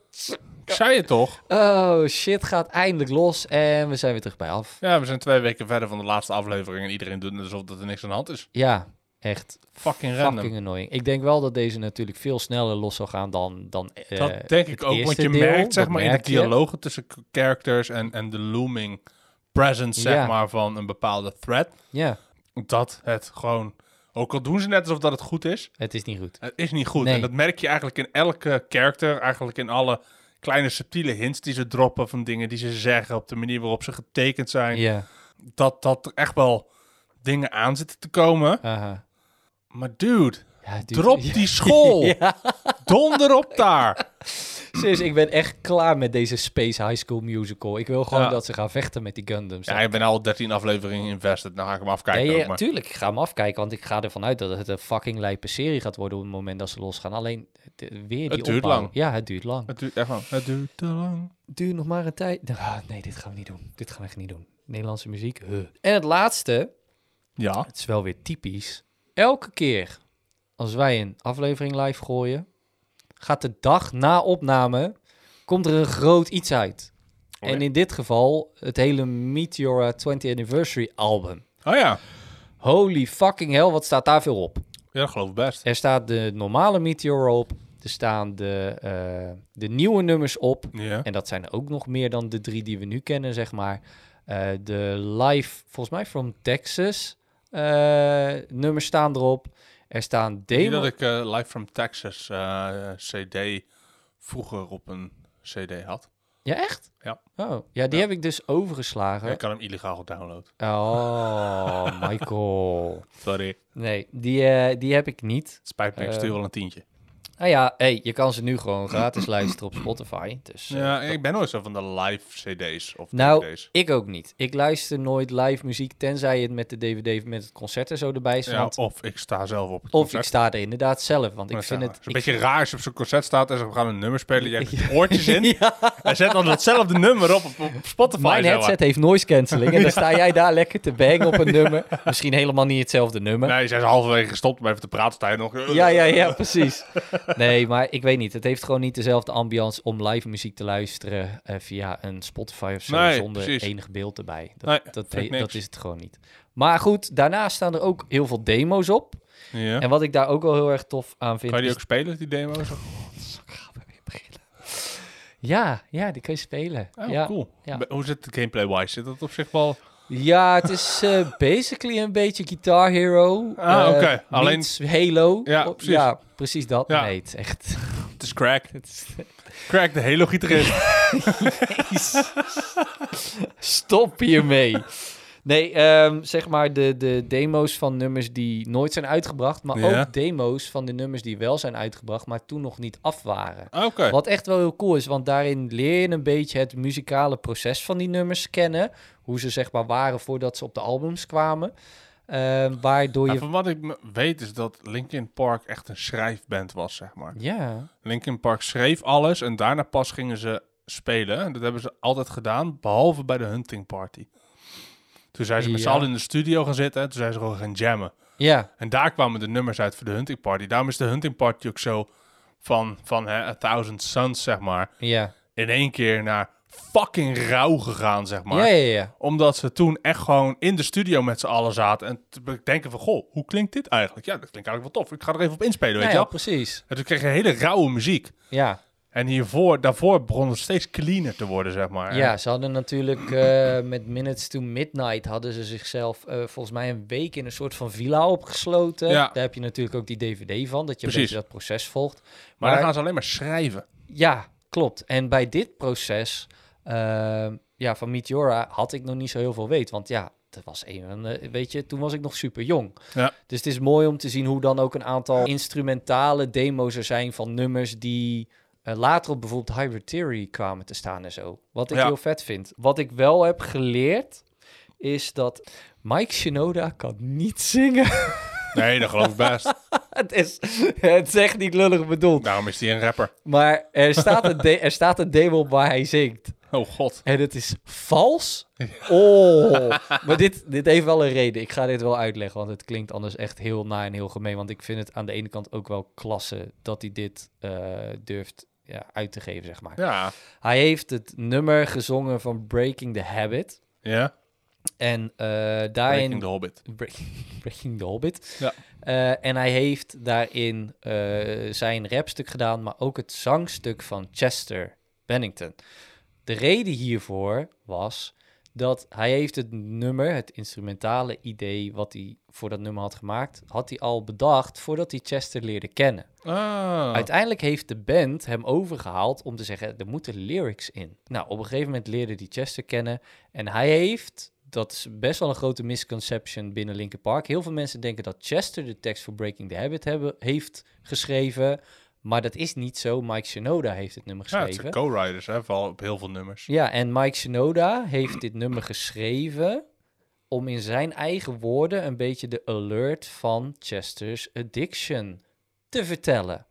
Speaker 2: Ik zei het toch?
Speaker 1: Oh, shit gaat eindelijk los en we zijn weer terug bij af.
Speaker 2: Ja, we zijn twee weken verder van de laatste aflevering en iedereen doet net alsof dat er niks aan de hand is.
Speaker 1: Ja, echt
Speaker 2: Fucking random.
Speaker 1: fucking annoying. Ik denk wel dat deze natuurlijk veel sneller los zal gaan dan... dan eh,
Speaker 2: dat denk
Speaker 1: het
Speaker 2: ik ook, want
Speaker 1: eerste
Speaker 2: je
Speaker 1: deel,
Speaker 2: merkt zeg
Speaker 1: dat
Speaker 2: maar in de
Speaker 1: merk je.
Speaker 2: dialogen tussen k- characters en, en de looming presence zeg
Speaker 1: Ja.
Speaker 2: maar van een bepaalde threat,
Speaker 1: Ja,
Speaker 2: dat het gewoon, ook al doen ze net alsof dat het goed is,
Speaker 1: het is niet goed.
Speaker 2: het is niet goed.
Speaker 1: Nee.
Speaker 2: En dat merk je eigenlijk in elke character, eigenlijk in alle kleine subtiele hints die ze droppen van dingen die ze zeggen, op de manier waarop ze getekend zijn,
Speaker 1: Ja,
Speaker 2: dat, dat er echt wel dingen aan zitten te komen.
Speaker 1: aha.
Speaker 2: Maar dude,
Speaker 1: Ja, dude.
Speaker 2: drop
Speaker 1: Ja.
Speaker 2: die school!
Speaker 1: Ja,
Speaker 2: Donder op daar!
Speaker 1: serieus, ik ben echt klaar met deze Space High School Musical. Ik wil gewoon
Speaker 2: Ja.
Speaker 1: dat ze gaan vechten met die Gundams.
Speaker 2: Ja, ik ben al 13 afleveringen invested, nou ga ik hem afkijken
Speaker 1: Nee,
Speaker 2: ook
Speaker 1: ja,
Speaker 2: maar.
Speaker 1: tuurlijk, ik ga hem afkijken, want ik ga ervan uit dat het een fucking lijpe serie gaat worden op het moment dat ze losgaan. Alleen het- weer die
Speaker 2: Het duurt
Speaker 1: opbouw.
Speaker 2: lang.
Speaker 1: Ja, het duurt lang.
Speaker 2: Het duurt echt lang. Het duurt te lang.
Speaker 1: duur nog maar een tijd. Ah, nee, dit gaan we niet doen. Dit gaan we echt niet doen. Nederlandse muziek. huh. En het laatste,
Speaker 2: Ja.
Speaker 1: het is wel weer typisch. Elke keer als wij een aflevering live gooien, gaat de dag na opname, komt er een groot iets uit.
Speaker 2: Oh ja.
Speaker 1: En in dit geval het hele Meteora 20th Anniversary album.
Speaker 2: Oh ja.
Speaker 1: Holy fucking hell, wat staat daar veel op?
Speaker 2: Ja, dat geloof ik best.
Speaker 1: Er staat de normale Meteora op, er staan de, eh, de nieuwe nummers op.
Speaker 2: Ja.
Speaker 1: En dat zijn er ook nog meer dan de drie die we nu kennen, zeg maar. Eh, de live, volgens mij, from Texas eh, nummers staan erop. Er staan
Speaker 2: Zie
Speaker 1: demo...
Speaker 2: dat ik eh, Live from Texas eh, CD vroeger op een CD had.
Speaker 1: Ja, echt?
Speaker 2: Ja.
Speaker 1: Oh, ja, die
Speaker 2: Ja.
Speaker 1: heb ik dus overgeslagen.
Speaker 2: Ik kan hem illegaal downloaden.
Speaker 1: Oh, Michael.
Speaker 2: Sorry.
Speaker 1: Nee, die, eh, die heb ik niet.
Speaker 2: Het spijt me, ik
Speaker 1: Eh,
Speaker 2: stuur wel een tientje.
Speaker 1: Nou ja, hey, je kan ze nu gewoon gratis luisteren op Spotify. Dus, eh,
Speaker 2: Ja, ik ben nooit zo van de live CD's of
Speaker 1: Nou,
Speaker 2: DVD's.
Speaker 1: Ik ook niet. Ik luister nooit live muziek, tenzij het met de DVD of met het concert er zo erbij is.
Speaker 2: Ja,
Speaker 1: want-
Speaker 2: of ik sta zelf op het
Speaker 1: of ik
Speaker 2: concert.
Speaker 1: sta er inderdaad zelf, want ik vind
Speaker 2: Maar zeg maar,
Speaker 1: het...
Speaker 2: is een
Speaker 1: ik-
Speaker 2: beetje raar als je op zo'n concert staat en ze gaan een nummer spelen. Jij hebt
Speaker 1: Ja.
Speaker 2: oortjes in
Speaker 1: Ja.
Speaker 2: en zet dan datzelfde nummer op op, op Spotify.
Speaker 1: Mijn
Speaker 2: zeg maar.
Speaker 1: headset heeft noise cancelling en dan sta jij daar lekker te bangen op een nummer. Misschien helemaal niet hetzelfde nummer.
Speaker 2: Nee, zijn ze halverwege gestopt om even te praten. Sta je nog... eh,
Speaker 1: Ja, ja, ja, precies. Nee, maar ik weet niet. Het heeft gewoon niet dezelfde ambiance om live muziek te luisteren eh, via een Spotify of zo
Speaker 2: Nee,
Speaker 1: zonder
Speaker 2: precies.
Speaker 1: enig beeld erbij. Dat,
Speaker 2: eh. Nee,
Speaker 1: dat,
Speaker 2: vind ik
Speaker 1: he- dat
Speaker 2: niks.
Speaker 1: is het gewoon niet. Maar goed, daarnaast staan er ook heel veel demo's op.
Speaker 2: Ja.
Speaker 1: En wat dus- ik daar ook wel heel erg tof aan vind.
Speaker 2: Kan je die
Speaker 1: is-
Speaker 2: ook spelen, die demo's? Oh,
Speaker 1: Gaan we weer beginnen? Ja, ja, die kun je spelen.
Speaker 2: Oh,
Speaker 1: ja.
Speaker 2: cool.
Speaker 1: ja.
Speaker 2: Be- Hoe zit het gameplay-wise? Zit dat op zich wel...
Speaker 1: Ja, het is eh, basically een beetje Guitar Hero.
Speaker 2: Ah,
Speaker 1: eh,
Speaker 2: oké. Alleen-
Speaker 1: meets Halo.
Speaker 2: Ja,
Speaker 1: Oh,
Speaker 2: precies.
Speaker 1: Ja, precies dat.
Speaker 2: Ja.
Speaker 1: Nee, het is echt...
Speaker 2: Het is Crack.
Speaker 1: het is-
Speaker 2: Crack, de Halo-gitarist.
Speaker 1: Jezus. Stop hiermee. Nee, ehm, zeg maar de, de demo's van nummers die nooit zijn uitgebracht... maar
Speaker 2: Ja.
Speaker 1: ook demo's van de nummers die wel zijn uitgebracht... maar toen nog niet af waren.
Speaker 2: Oké.
Speaker 1: Wat echt wel heel cool is, want daarin leer je een beetje het muzikale proces van die nummers kennen. Hoe ze zeg maar waren voordat ze op de albums kwamen. Ehm, waardoor
Speaker 2: Ja,
Speaker 1: je...
Speaker 2: van wat ik me- weet is dat Linkin Park echt een schrijfband was, zeg maar.
Speaker 1: Ja,
Speaker 2: Linkin Park schreef alles en daarna pas gingen ze spelen. En dat hebben ze altijd gedaan, behalve bij de Hunting Party. Toen zijn ze met z'n
Speaker 1: Ja.
Speaker 2: allen in de studio gaan zitten en toen zijn ze gewoon gaan jammen.
Speaker 1: ja,
Speaker 2: En daar kwamen de nummers uit voor de Hunting Party. Daarom is de Hunting Party ook zo van, van hè, A Thousand Suns, zeg maar,
Speaker 1: ja.
Speaker 2: in één keer naar fucking rauw gegaan, zeg maar.
Speaker 1: ja, ja, ja.
Speaker 2: Omdat ze toen echt gewoon in de studio met z'n allen zaten en te bedenken van, goh, hoe klinkt dit eigenlijk? Ja, dat klinkt eigenlijk wel tof. Ik ga er even op inspelen, weet
Speaker 1: Nou
Speaker 2: je
Speaker 1: ja,
Speaker 2: wel?
Speaker 1: precies.
Speaker 2: En toen kreeg je hele rauwe muziek.
Speaker 1: Ja,
Speaker 2: En hiervoor, daarvoor begon het steeds cleaner te worden, zeg maar.
Speaker 1: ja, ze hadden natuurlijk eh, met Minutes to Midnight hadden ze zichzelf eh, volgens mij een week in een soort van villa opgesloten.
Speaker 2: Ja.
Speaker 1: Daar heb je natuurlijk ook die DVD van, dat je een
Speaker 2: Precies.
Speaker 1: beetje dat proces volgt.
Speaker 2: maar, dan gaan ze alleen maar schrijven.
Speaker 1: Ja, klopt. En bij dit proces ehm, ja, van Meteora had ik nog niet zo heel veel weet. Want ja, dat was een van de- weet je, toen was ik nog super jong.
Speaker 2: Ja.
Speaker 1: Dus het is mooi om te zien hoe dan ook een aantal instrumentale demo's er zijn van nummers die eh, eh, later op bijvoorbeeld Hybrid Theory kwamen te staan en zo. Wat ik
Speaker 2: Ja.
Speaker 1: heel vet vind. Wat ik wel heb geleerd, is dat Mike Shinoda kan niet zingen.
Speaker 2: Nee, dat geloof ik best.
Speaker 1: het, is, het is echt niet lullig bedoeld.
Speaker 2: Daarom is hij een rapper.
Speaker 1: Maar er staat, een de- er staat een demo op waar hij zingt.
Speaker 2: Oh god.
Speaker 1: En het is vals. Oh, maar dit, dit heeft wel een reden. Ik ga dit wel uitleggen, want het klinkt anders echt heel na en heel gemeen. Want ik vind het aan de ene kant ook wel klasse dat hij dit eh, durft ja, uit te geven, zeg maar.
Speaker 2: Ja.
Speaker 1: Hij heeft het nummer gezongen van Breaking the Habit.
Speaker 2: Ja.
Speaker 1: En eh,
Speaker 2: Breaking
Speaker 1: daarin...
Speaker 2: the Hobbit.
Speaker 1: Breaking, Breaking the Hobbit.
Speaker 2: Ja.
Speaker 1: Eh, en hij heeft daarin eh, zijn rapstuk gedaan, maar ook het zangstuk van Chester Bennington. De reden hiervoor was dat hij heeft het nummer, het instrumentale idee wat hij voor dat nummer had gemaakt, had hij al bedacht voordat hij Chester leerde kennen.
Speaker 2: Ah.
Speaker 1: Uiteindelijk heeft de band hem overgehaald om te zeggen, er moeten lyrics in. Nou, op een gegeven moment leerde hij Chester kennen en hij heeft, dat is best wel een grote misconception binnen Linkin Park. Heel veel mensen denken dat Chester de tekst voor Breaking the Habit hebben, heeft geschreven, maar dat is niet zo. Mike Shinoda heeft het nummer
Speaker 2: Ja, het zijn
Speaker 1: geschreven.
Speaker 2: co-writers, hè, vooral op heel veel nummers.
Speaker 1: Ja, en Mike Shinoda heeft dit nummer geschreven om in zijn eigen woorden een beetje de alert van Chester's addiction te vertellen.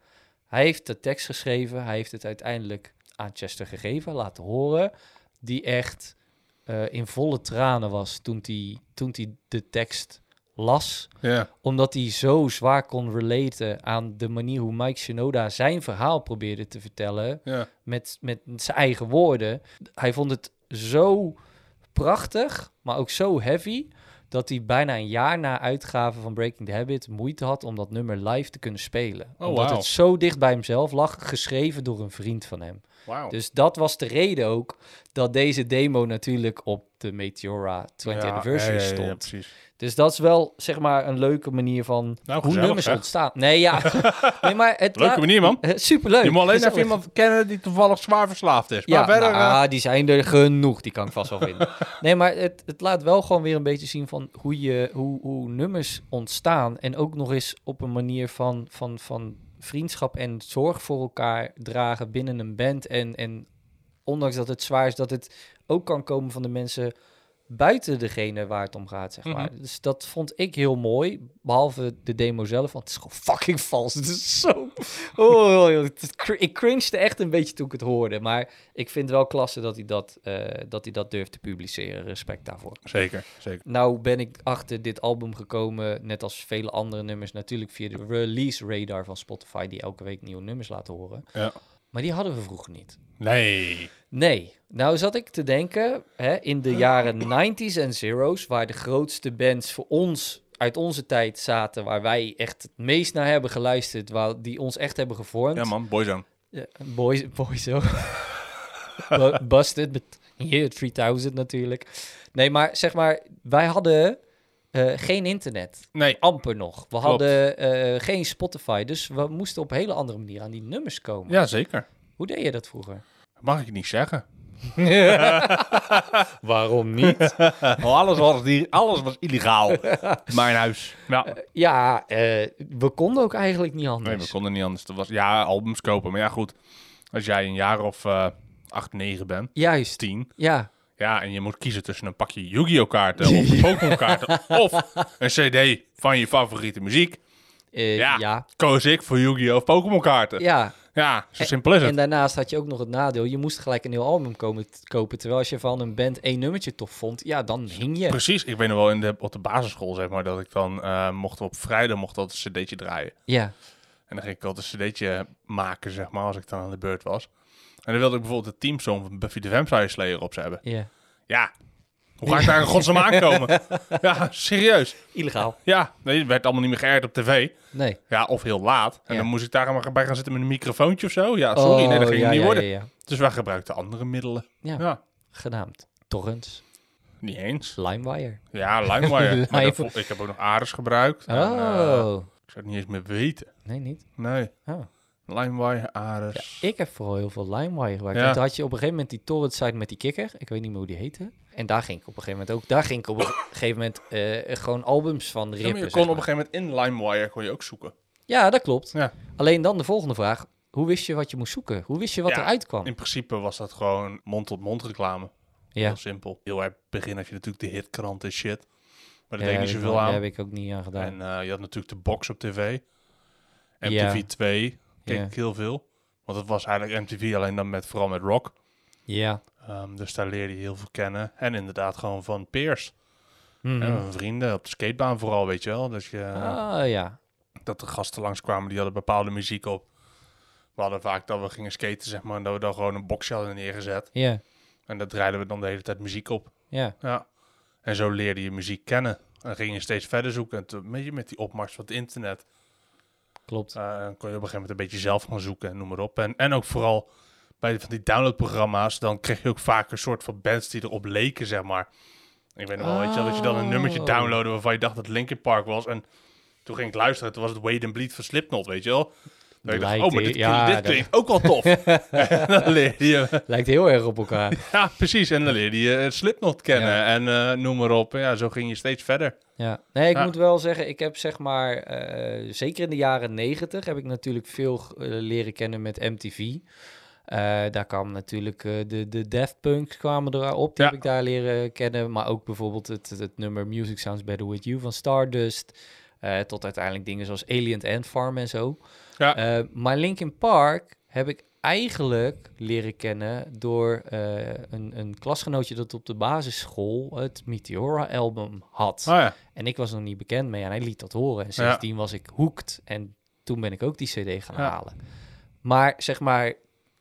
Speaker 1: Hij heeft de tekst geschreven, hij heeft het uiteindelijk aan Chester gegeven, laten horen, die echt eh, in volle tranen was toen hij toen die de tekst las
Speaker 2: Ja.
Speaker 1: omdat hij zo zwaar kon relaten aan de manier hoe Mike Shinoda zijn verhaal probeerde te vertellen
Speaker 2: Ja.
Speaker 1: met, met zijn eigen woorden. Hij vond het zo prachtig, maar ook zo heavy, dat hij bijna een jaar na uitgave van Breaking the Habit moeite had om dat nummer live te kunnen spelen.
Speaker 2: Oh,
Speaker 1: Omdat
Speaker 2: wauw.
Speaker 1: het zo dicht bij hemzelf lag, geschreven door een vriend van hem.
Speaker 2: Wauw.
Speaker 1: Dus dat was de reden ook dat deze demo natuurlijk op de Meteora 20th
Speaker 2: Ja,
Speaker 1: Anniversary
Speaker 2: ja, ja, ja,
Speaker 1: stond.
Speaker 2: precies.
Speaker 1: Dus dat is wel, zeg maar, een leuke manier van
Speaker 2: Nou,
Speaker 1: hoe
Speaker 2: gezellig,
Speaker 1: nummers
Speaker 2: hè?
Speaker 1: ontstaan. Nee, ja. nee, maar het
Speaker 2: Leuke
Speaker 1: laat-
Speaker 2: manier, man.
Speaker 1: Eh, Superleuk.
Speaker 2: Je moet alleen even
Speaker 1: Gezellig.
Speaker 2: iemand kennen die toevallig zwaar verslaafd is. Maar
Speaker 1: Ja,
Speaker 2: verder... eh,
Speaker 1: nou, die zijn er genoeg. Die kan ik vast wel vinden. nee, maar het, het laat wel gewoon weer een beetje zien van hoe, je, hoe, hoe nummers ontstaan. En ook nog eens op een manier van, van, van vriendschap en zorg voor elkaar dragen binnen een band. En, en ondanks dat het zwaar is, dat het ook kan komen van de mensen buiten degene waar het om gaat, zeg maar. Dus dat vond ik heel mooi, behalve de demo zelf, want het is gewoon fucking vals. Het is zo... Oh, joh, het is cr- ik cringede echt een beetje toen ik het hoorde, maar ik vind wel klasse dat hij dat, eh, dat, hij dat durft te publiceren. Respect daarvoor.
Speaker 2: Zeker, zeker.
Speaker 1: Nou ben ik achter dit album gekomen, net als vele andere nummers, natuurlijk via de release radar van Spotify, die elke week nieuwe nummers laten horen.
Speaker 2: Ja.
Speaker 1: Maar die hadden we vroeger niet.
Speaker 2: Nee.
Speaker 1: Nee. Nou zat ik te denken, hè, in de jaren 90s en zeros, waar de grootste bands voor ons uit onze tijd zaten, waar wij echt het meest naar hebben geluisterd, waar die ons echt hebben gevormd.
Speaker 2: Ja man, boyzone.
Speaker 1: Ja, boys, boys ook. Bu- Busted, met yeah, 3000 natuurlijk. Nee, maar zeg maar, wij hadden eh, geen internet
Speaker 2: Nee.
Speaker 1: amper nog. We hadden eh, geen Spotify, dus we moesten op een hele andere manier aan die nummers komen.
Speaker 2: Ja, zeker.
Speaker 1: Hoe deed je dat vroeger?
Speaker 2: Mag ik niet zeggen.
Speaker 1: Waarom niet?
Speaker 2: Eh, oh, alles, was die, alles was illegaal. Mijn huis. Ja.
Speaker 1: Ja, eh, we konden ook eigenlijk niet
Speaker 2: Nee,
Speaker 1: anders.
Speaker 2: we konden niet anders. Dat was, ja, albums kopen. Maar ja, goed. Als jij een jaar of eh acht, negen bent.
Speaker 1: Juist,
Speaker 2: Tien.
Speaker 1: ja.
Speaker 2: Ja, en je moet kiezen tussen een pakje Yu-Gi-Oh kaarten of Pokémon kaarten. of een cd van je favoriete muziek.
Speaker 1: Eh,
Speaker 2: Ja.
Speaker 1: ja. ja.
Speaker 2: Koos ik voor Yu-Gi-Oh of Pokémon kaarten. Ja, zo simpel is het.
Speaker 1: En daarnaast had je ook nog het nadeel, je moest gelijk een nieuw album komen, kopen. Terwijl als je van een band één nummertje tof vond, ja, dan hing je.
Speaker 2: Precies, ik weet nog wel in de, op de basisschool, zeg maar, dat ik dan eh, mocht op vrijdag mocht dat een cd'tje draaien.
Speaker 1: Ja,
Speaker 2: En dan ging ik altijd een cd'tje maken, zeg maar, als ik dan aan de beurt was. En dan wilde ik bijvoorbeeld de teamsong van Buffy the Vampire Slayer op ze hebben.
Speaker 1: ja.
Speaker 2: Ja, hoe ga ik daar in godsnaam aankomen? Ja, serieus.
Speaker 1: Illegaal.
Speaker 2: Ja, nee, het werd allemaal niet meer geërd op tv.
Speaker 1: Nee.
Speaker 2: Ja, of heel laat. En
Speaker 1: Ja.
Speaker 2: dan moest ik daar maar bij gaan zitten met een microfoontje of zo. Ja, sorry, nee, dat
Speaker 1: Oh,
Speaker 2: ging
Speaker 1: ja,
Speaker 2: het niet
Speaker 1: ja,
Speaker 2: worden.
Speaker 1: Ja, ja.
Speaker 2: Dus wij gebruikten andere middelen.
Speaker 1: Ja.
Speaker 2: ja
Speaker 1: Genaamd Torrents,
Speaker 2: niet eens.
Speaker 1: LimeWire.
Speaker 2: Ja, LimeWire. Maar
Speaker 1: Lime-
Speaker 2: daarvoor- ik heb ook nog Ares gebruikt. En, eh,
Speaker 1: Oh.
Speaker 2: Ik zou het niet eens meer weten.
Speaker 1: Nee, niet.
Speaker 2: Nee.
Speaker 1: Oh.
Speaker 2: LimeWire, Ares.
Speaker 1: Ik heb vooral heel veel LimeWire gebruikt.
Speaker 2: Ja.
Speaker 1: Want dan had je op een gegeven moment die torrent site met die kikker. Ik weet niet meer hoe die heette. En daar ging ik op een gegeven moment ook. Daar ging ik op een gegeven moment eh, gewoon albums van
Speaker 2: Ja, maar
Speaker 1: rippen.
Speaker 2: je
Speaker 1: zeg
Speaker 2: kon op
Speaker 1: maar.
Speaker 2: een gegeven moment in LimeWire kon je ook zoeken.
Speaker 1: Ja, dat klopt.
Speaker 2: Ja.
Speaker 1: Alleen dan de volgende vraag. hoe wist je wat je moest zoeken? Hoe wist je wat
Speaker 2: Ja,
Speaker 1: eruit kwam?
Speaker 2: In principe was dat gewoon mond-tot-mond reclame.
Speaker 1: Ja.
Speaker 2: Heel simpel. Heel erg begin had je natuurlijk de hitkrant en shit. Maar daar
Speaker 1: Ja,
Speaker 2: deed
Speaker 1: heb
Speaker 2: niet
Speaker 1: ik
Speaker 2: zoveel
Speaker 1: wel-
Speaker 2: aan.
Speaker 1: Daar heb ik ook niet aan gedaan.
Speaker 2: En eh, je had natuurlijk de box op tv. MTV
Speaker 1: Ja.
Speaker 2: 2 keek
Speaker 1: Ja.
Speaker 2: ik heel veel. Want dat was eigenlijk MTV alleen dan met, vooral met rock.
Speaker 1: ja.
Speaker 2: Ehm, dus daar leerde je heel veel kennen. En inderdaad gewoon van peers.
Speaker 1: Mhm.
Speaker 2: En van vrienden op de skatebaan vooral, weet je wel. Dat, je, eh,
Speaker 1: Ah, ja.
Speaker 2: dat de gasten langskwamen, die hadden bepaalde muziek op. We hadden vaak dat we gingen skaten, zeg maar. En dat we dan gewoon een boxje hadden neergezet.
Speaker 1: Ja.
Speaker 2: En daar draaiden we dan de hele tijd muziek op.
Speaker 1: Ja.
Speaker 2: Ja. En zo leerde je muziek kennen. En ging je steeds verder zoeken. En toen, weet je, met die opmars van het internet...
Speaker 1: Klopt.
Speaker 2: Eh, dan kon je op een gegeven moment een beetje zelf gaan zoeken en noem maar op. En, en ook vooral bij van die downloadprogramma's, dan kreeg je ook vaak een soort van bands die erop leken, zeg maar. Ik weet nog wel, weet je wel, dat je dan een nummertje
Speaker 1: Oh.
Speaker 2: downloadde waarvan je dacht dat het Linkin Park was. En toen ging ik luisteren, toen was het Wade and Bleed van Slipknot, weet je wel. Dat ik dacht,
Speaker 1: Lijkt
Speaker 2: oh, maar dit,
Speaker 1: heel- ja,
Speaker 2: dit
Speaker 1: dat-
Speaker 2: klinkt ook wel tof. en dan leerde je,
Speaker 1: Lijkt heel erg op elkaar.
Speaker 2: ja, precies. En dan leerde je eh, Slipknot kennen
Speaker 1: Ja.
Speaker 2: en eh, noem maar op. Ja, zo ging je steeds verder.
Speaker 1: ja. Nee, ik
Speaker 2: Ja.
Speaker 1: moet wel zeggen, ik heb zeg maar, eh, zeker in de jaren negentig, heb ik natuurlijk veel eh, leren kennen met MTV. Eh, daar kwam natuurlijk eh, de, de Daft Punks kwamen erop, die
Speaker 2: Ja.
Speaker 1: heb ik daar leren kennen. Maar ook bijvoorbeeld het, het nummer Music Sounds Better With You van Stardust. Eh, tot uiteindelijk dingen zoals Alien Ant Farm en zo.
Speaker 2: Ja.
Speaker 1: Eh, maar Linkin Park heb ik eigenlijk leren kennen door eh, een, een klasgenootje dat op de basisschool het Meteora-album had.
Speaker 2: Oh ja,
Speaker 1: En ik was nog niet bekend mee en hij liet dat horen. En sindsdien was ik hooked en toen ben ik ook die cd gaan
Speaker 2: Ja.
Speaker 1: halen. Maar zeg maar,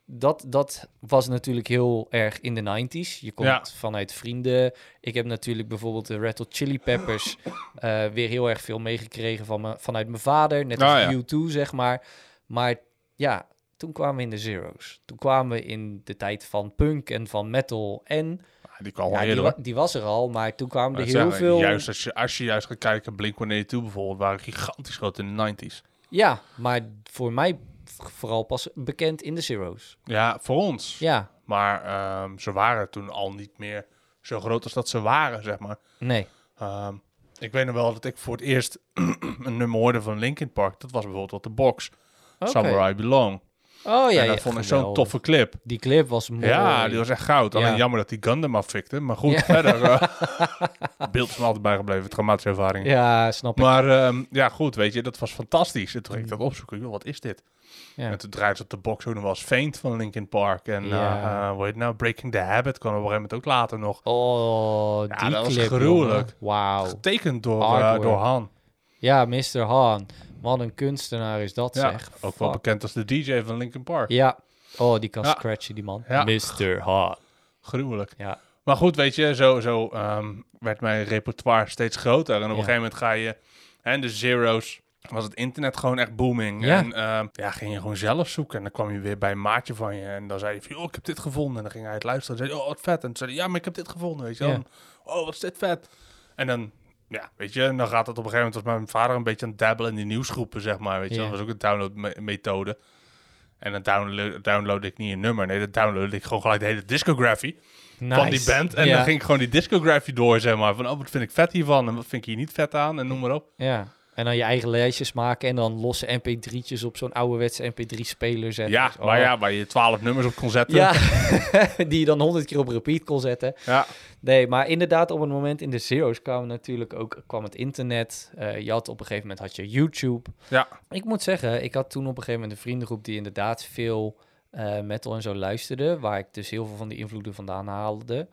Speaker 1: dat, dat was natuurlijk heel erg in de 90s. Je komt
Speaker 2: Ja.
Speaker 1: vanuit vrienden. Ik heb natuurlijk bijvoorbeeld de Red Hot Chili Peppers eh, weer heel erg veel meegekregen van me, vanuit mijn vader. Net als
Speaker 2: Ah, ja.
Speaker 1: U2, zeg maar. Maar ja, toen kwamen we in de zeros. Toen kwamen we in de tijd van punk en van metal. En
Speaker 2: die kwam al
Speaker 1: ja, die,
Speaker 2: eerder,
Speaker 1: wa-
Speaker 2: hoor.
Speaker 1: die was er al, maar toen kwamen er
Speaker 2: Maar
Speaker 1: heel
Speaker 2: het zijn
Speaker 1: veel...
Speaker 2: Juist als je, als je juist gaat kijken, Blink-182 bijvoorbeeld, waren gigantisch groot in de 90s.
Speaker 1: Ja, maar voor mij vooral pas bekend in de zeros.
Speaker 2: Ja, voor ons.
Speaker 1: Ja,
Speaker 2: Maar ehm, ze waren toen al niet meer zo groot als dat ze waren, zeg maar.
Speaker 1: nee.
Speaker 2: Ehm, ik weet nog wel dat ik voor het eerst een nummer hoorde van Linkin Park. Dat was bijvoorbeeld op de box,
Speaker 1: Oké.
Speaker 2: Somewhere I Belong.
Speaker 1: Oh ja,
Speaker 2: en dat
Speaker 1: ja,
Speaker 2: vond ik zo'n
Speaker 1: geweldig.
Speaker 2: toffe clip.
Speaker 1: Die clip was mooi.
Speaker 2: Ja, die was echt goud. Alleen
Speaker 1: Ja.
Speaker 2: jammer dat die Gundam afvikte. Maar goed,
Speaker 1: Ja.
Speaker 2: verder. eh, beeld is me altijd bijgebleven, traumatische ervaring.
Speaker 1: Ja, snap ik.
Speaker 2: Maar ehm, ja, goed, weet je, dat was fantastisch. En toen ging ik dat opzoeken. Joh, wat is dit?
Speaker 1: Mm. Ja.
Speaker 2: En toen draaide ze op de box ook nog wel eens Faint van Linkin Park. En
Speaker 1: Ja.
Speaker 2: eh, eh, hoe heet het nou? Breaking the Habit kwam op een gegeven moment ook later nog.
Speaker 1: Oh, die
Speaker 2: Ja, dat was
Speaker 1: clip,
Speaker 2: gruwelijk.
Speaker 1: jongen. Wauw.
Speaker 2: Getekend door, eh,
Speaker 1: Artwork.
Speaker 2: door Han.
Speaker 1: Ja, Mr. Han. Wat een kunstenaar is dat,
Speaker 2: Ja,
Speaker 1: zeg.
Speaker 2: ook wel
Speaker 1: Fuck.
Speaker 2: bekend als de DJ van Linkin Park.
Speaker 1: Ja. Oh, die kan
Speaker 2: Ja.
Speaker 1: scratchen, die man.
Speaker 2: Ja.
Speaker 1: Mr. Han.
Speaker 2: Gruwelijk.
Speaker 1: Ja.
Speaker 2: Maar goed, weet je, zo, zo ehm, werd mijn repertoire steeds groter. En op een
Speaker 1: Ja.
Speaker 2: gegeven moment ga je... En de zeros was het internet gewoon echt booming.
Speaker 1: Ja.
Speaker 2: En ehm, ja, ging je gewoon zelf zoeken. En dan kwam je weer bij een maatje van je. En dan zei je van, joh, ik heb dit gevonden. En dan ging hij het luisteren. En zei hij, oh, wat vet. En toen zei hij, ja, maar ik heb dit gevonden, weet je wel.
Speaker 1: Ja.
Speaker 2: En, Oh, wat is dit vet. En dan, ja, weet je, en dan gaat het op een gegeven moment... was mijn vader een beetje aan het dabbelen in die nieuwsgroepen, zeg maar. Weet je,
Speaker 1: Ja.
Speaker 2: dat was ook een downloadmethode. En dan download, download ik niet een nummer. Nee, dan download ik gewoon gelijk de hele discography
Speaker 1: Nice.
Speaker 2: van die band. En
Speaker 1: ja.
Speaker 2: dan ging ik gewoon die discography door, zeg maar. Van, oh, wat vind ik vet hiervan en wat vind ik hier niet vet aan en noem maar op.
Speaker 1: Ja. En dan je eigen lijstjes maken en dan losse mp3'tjes op zo'n ouderwetse mp3-speler zetten.
Speaker 2: Ja,
Speaker 1: Dus, oh.
Speaker 2: maar ja, waar je twaalf nummers op kon zetten.
Speaker 1: Ja, die je dan honderd keer op repeat kon zetten.
Speaker 2: ja.
Speaker 1: Nee, maar inderdaad, op het moment in de zeros kwam natuurlijk ook kwam het internet. Eh, je had op een gegeven moment had je YouTube.
Speaker 2: Ja.
Speaker 1: Ik moet zeggen, ik had toen op een gegeven moment een vriendengroep die inderdaad veel eh, metal en zo luisterde, waar ik dus heel veel van die invloeden vandaan haalde.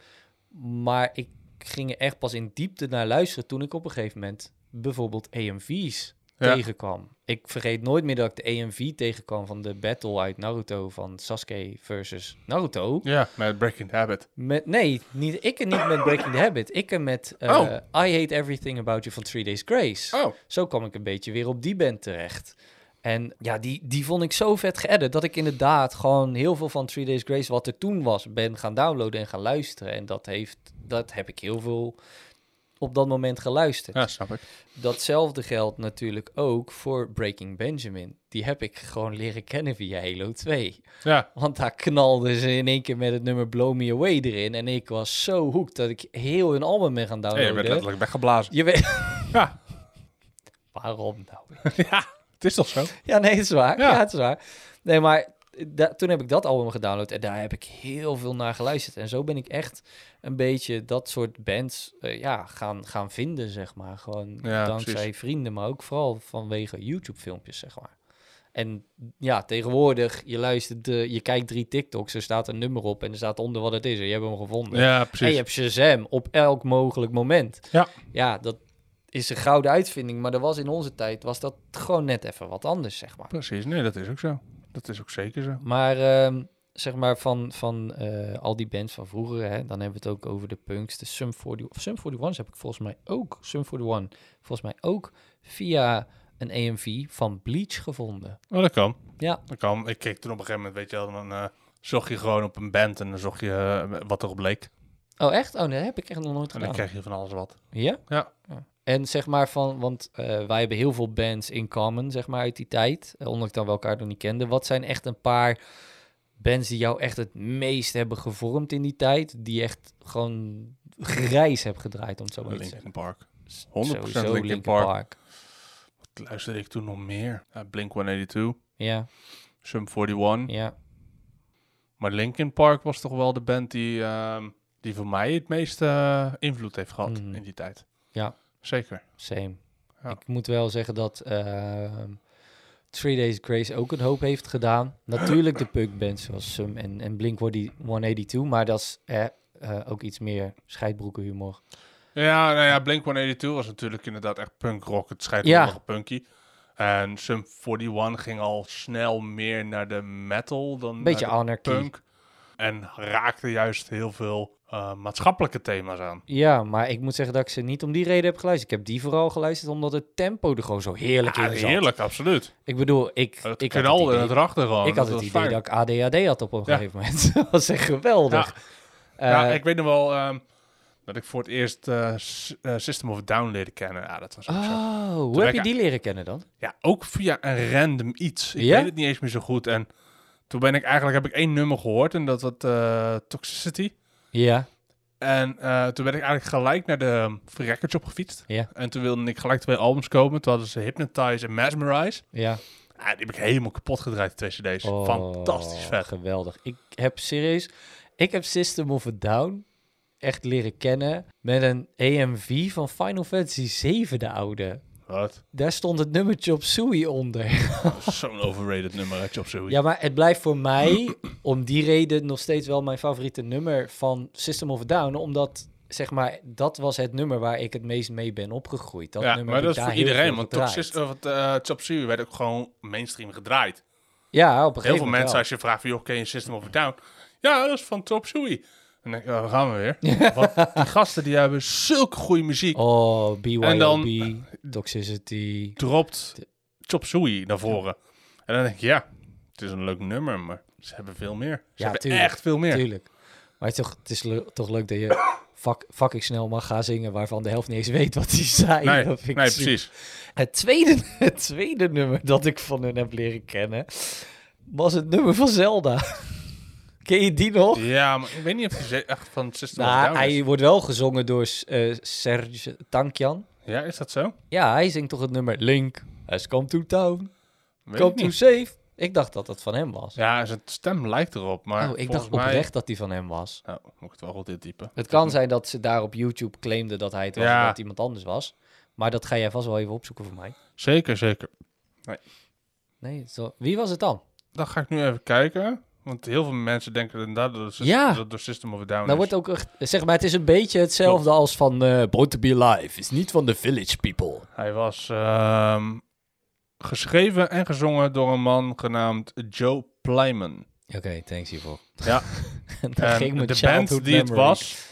Speaker 1: Maar ik ging er echt pas in diepte naar luisteren toen ik op een gegeven moment bijvoorbeeld EMV's
Speaker 2: Ja.
Speaker 1: tegenkwam. Ik vergeet nooit meer dat ik de EMV tegenkwam van de battle uit Naruto van Sasuke versus Naruto.
Speaker 2: ja, met Breaking the Habit.
Speaker 1: Met, nee, niet, ik en niet met Breaking the Habit. Ik en met eh,
Speaker 2: Oh.
Speaker 1: I Hate Everything About You van Three Days Grace.
Speaker 2: Oh,
Speaker 1: Zo kwam ik een beetje weer op die band terecht. En ja, die, die vond ik zo vet geëdit dat ik inderdaad gewoon heel veel van Three Days Grace, wat er toen was, ben gaan downloaden en gaan luisteren. En dat, heeft, dat heb ik heel veel op dat moment geluisterd.
Speaker 2: ja, snap ik.
Speaker 1: Datzelfde geldt natuurlijk ook voor Breaking Benjamin. Die heb ik gewoon leren kennen via Halo 2.
Speaker 2: Ja,
Speaker 1: Want daar knalden ze in één keer met het nummer Blow Me Away erin. En ik was zo hoekt dat ik heel hun album ben gaan
Speaker 2: hey, je
Speaker 1: downloaden.
Speaker 2: bent letterlijk weggeblazen.
Speaker 1: Je weet...
Speaker 2: Ja.
Speaker 1: Waarom nou?
Speaker 2: ja, Het is toch zo?
Speaker 1: Ja, nee, het is waar. Ja,
Speaker 2: Ja.
Speaker 1: het is waar. Nee, maar da- toen heb ik dat album gedownload en daar heb ik heel veel naar geluisterd. En zo ben ik echt een beetje dat soort bands eh, ja, gaan, gaan vinden, zeg maar. Gewoon
Speaker 2: Ja,
Speaker 1: dankzij
Speaker 2: precies.
Speaker 1: vrienden, maar ook vooral vanwege YouTube-filmpjes, zeg maar. En ja, tegenwoordig, je luistert, eh, je kijkt drie TikToks, er staat een nummer op en er staat onder wat het is. En je hebt hem gevonden.
Speaker 2: Ja,
Speaker 1: En je hebt Shazam op elk mogelijk moment.
Speaker 2: Ja.
Speaker 1: Ja, dat is een gouden uitvinding. Maar er was in onze tijd was dat gewoon net even wat anders, zeg maar.
Speaker 2: Precies, nee, dat is ook zo. Dat is ook zeker zo.
Speaker 1: Maar ehm, zeg maar van, van eh, al die bands van vroeger, hè, dan hebben we het ook over de punks. De Sum 40, of Sum 41's heb ik volgens mij ook, Sum 41, volgens mij ook via een EMV van Bleach gevonden.
Speaker 2: Oh, dat kan.
Speaker 1: Ja.
Speaker 2: Dat kan. Ik keek toen op een gegeven moment, weet je wel, dan eh, zocht je gewoon op een band en dan zocht je eh, wat erop leek.
Speaker 1: Oh, echt? Oh, nee, dat heb ik echt nog nooit
Speaker 2: En dan
Speaker 1: gedaan.
Speaker 2: kreeg je van alles wat.
Speaker 1: Ja?
Speaker 2: Ja.
Speaker 1: En zeg maar van, want eh, wij hebben heel veel bands in common, zeg maar, uit die tijd. eh, Ondanks dat we elkaar nog niet kenden. Wat zijn echt een paar bands die jou echt het meest hebben gevormd in die tijd? Die echt gewoon grijs heb gedraaid, om het
Speaker 2: Oh,
Speaker 1: zo maar te zeggen.
Speaker 2: Linkin Park. 100%
Speaker 1: Sowieso
Speaker 2: Linkin, Park.
Speaker 1: Park.
Speaker 2: Wat luisterde ik toen nog meer? Eh, Blink 182,
Speaker 1: Ja,
Speaker 2: Sum 41.
Speaker 1: ja.
Speaker 2: Maar Linkin Park was toch wel de band die, ehm, die voor mij het meeste eh, invloed heeft gehad
Speaker 1: Mhm.
Speaker 2: in die tijd.
Speaker 1: Ja.
Speaker 2: Zeker.
Speaker 1: Same.
Speaker 2: Ja.
Speaker 1: Ik moet wel zeggen dat ehm, Three Days Grace ook een hoop heeft gedaan. Natuurlijk de punkbands zoals Sum en, en Blink-182, maar dat is eh, eh, ook iets meer scheidbroekenhumor.
Speaker 2: Ja, nou ja, Blink 182 was natuurlijk inderdaad echt punk rock. Het scheidt
Speaker 1: Ja.
Speaker 2: ja. nog punky. En Sum 41 ging al snel meer naar de metal dan
Speaker 1: Beetje
Speaker 2: naar de
Speaker 1: anarchie.
Speaker 2: punk. En raakte juist heel veel eh, maatschappelijke thema's aan.
Speaker 1: Ja, maar ik moet zeggen dat ik ze niet om die reden heb geluisterd. Ik heb die vooral geluisterd omdat het tempo er gewoon zo heerlijk
Speaker 2: Ja,
Speaker 1: in zat.
Speaker 2: heerlijk, absoluut.
Speaker 1: Ik bedoel, ik,
Speaker 2: Het
Speaker 1: ik had het
Speaker 2: knalde
Speaker 1: idee,
Speaker 2: het erachter gewoon.
Speaker 1: ik had het
Speaker 2: was
Speaker 1: idee
Speaker 2: fijn.
Speaker 1: dat ik ADHD had op een
Speaker 2: Ja.
Speaker 1: gegeven moment. dat was echt geweldig. Eh,
Speaker 2: ja, ik weet nog wel ehm, dat ik voor het eerst eh, S- eh, System of a Down leerde kennen. Ja, dat was ook zo.
Speaker 1: Oh, hoe
Speaker 2: Toen
Speaker 1: heb
Speaker 2: ik-
Speaker 1: je die leren kennen dan?
Speaker 2: Ja, ook via een random iets. Ik
Speaker 1: Ja?
Speaker 2: weet het niet eens meer zo goed. En toen ben ik eigenlijk, heb ik één nummer gehoord en dat was eh, Toxicity.
Speaker 1: Ja,
Speaker 2: En eh, toen ben ik eigenlijk gelijk naar de um, Free Records op gefietst.
Speaker 1: Ja.
Speaker 2: En toen wilde ik gelijk twee albums komen. Toen hadden ze Hypnotize en Mesmerize.
Speaker 1: ja.
Speaker 2: Ah, die heb ik helemaal kapot gedraaid, die twee cd's.
Speaker 1: Oh,
Speaker 2: Fantastisch vet.
Speaker 1: Geweldig. Ik heb serieus, ik heb System of a Down echt leren kennen met een EMV van Final Fantasy 7, de oude.
Speaker 2: Wat?
Speaker 1: Daar stond het nummertje op Sui onder.
Speaker 2: Zo'n overrated nummer had je op zoiets.
Speaker 1: Ja, maar het blijft voor mij om die reden nog steeds wel mijn favoriete nummer van System of a Down. Omdat, zeg maar, dat was het nummer waar ik het meest mee ben opgegroeid. Dat
Speaker 2: ja,
Speaker 1: nummer
Speaker 2: maar
Speaker 1: heb
Speaker 2: dat
Speaker 1: ik
Speaker 2: is
Speaker 1: daar
Speaker 2: voor
Speaker 1: heel
Speaker 2: iedereen.
Speaker 1: veel
Speaker 2: Want
Speaker 1: gedraaid.
Speaker 2: Toxicity, of het, eh, Chopsui werd ook gewoon mainstream gedraaid.
Speaker 1: Ja, op een
Speaker 2: Heel
Speaker 1: gegeven
Speaker 2: veel
Speaker 1: moment
Speaker 2: mensen, als je vraagt van, joh, ken je System of a Down? Ja, dat is van Top Suey. En dan denk ik, oh, daar gaan we weer. Want die gasten die hebben zulke goede muziek.
Speaker 1: wel. Oh, BYOB,
Speaker 2: En dan-
Speaker 1: Toxicity.
Speaker 2: Dropt Chop Suey naar voren. En dan denk ik, ja, het is een leuk nummer, maar ze hebben veel meer. Ze
Speaker 1: Ja,
Speaker 2: hebben
Speaker 1: tuurlijk,
Speaker 2: echt veel meer.
Speaker 1: Tuurlijk. Maar het is toch, het is le- toch leuk dat je fuck, fucking snel mag gaan zingen... waarvan de helft niet eens weet wat die zei.
Speaker 2: Nee,
Speaker 1: Dat vind
Speaker 2: nee
Speaker 1: ik super.
Speaker 2: precies.
Speaker 1: Het tweede, het tweede nummer dat ik van hun heb leren kennen was het nummer van Zelda. Ken je die nog?
Speaker 2: Ja, maar ik weet niet of die ze- echt van System of a
Speaker 1: Nou,
Speaker 2: Down is.
Speaker 1: hij wordt wel gezongen door eh, Serge Tankjan.
Speaker 2: Ja, is dat zo?
Speaker 1: Ja, hij zingt toch het nummer Link has come to town,
Speaker 2: Weet
Speaker 1: come
Speaker 2: ik
Speaker 1: to
Speaker 2: niet.
Speaker 1: save. Ik dacht dat dat van hem was.
Speaker 2: Ja, zijn stem lijkt erop, maar
Speaker 1: oh, ik
Speaker 2: volgens
Speaker 1: dacht
Speaker 2: mij...
Speaker 1: oprecht dat die van hem was.
Speaker 2: Nou, moet ik het wel goed intypen.
Speaker 1: Het kan zijn dat ze daar op YouTube claimden dat hij het was,
Speaker 2: Ja.
Speaker 1: en dat iemand anders was. Maar dat ga jij vast wel even opzoeken voor mij.
Speaker 2: Zeker, zeker.
Speaker 1: Nee, het is wel- wie was het dan?
Speaker 2: Dan ga ik nu even kijken. Want heel veel mensen denken inderdaad dat het sys-
Speaker 1: Ja.
Speaker 2: dat het door System of a Down
Speaker 1: Nou
Speaker 2: is.
Speaker 1: wordt ook echt, zeg maar, het is een beetje hetzelfde als van eh Born to Be Alive. Is niet van de Village People.
Speaker 2: Hij was ehm, geschreven en gezongen door een man genaamd Joe Plyman.
Speaker 1: Oké, thanks hiervoor.
Speaker 2: Ja.
Speaker 1: Dan ging
Speaker 2: En
Speaker 1: mijn
Speaker 2: de band die
Speaker 1: childhood
Speaker 2: het
Speaker 1: memory.
Speaker 2: was,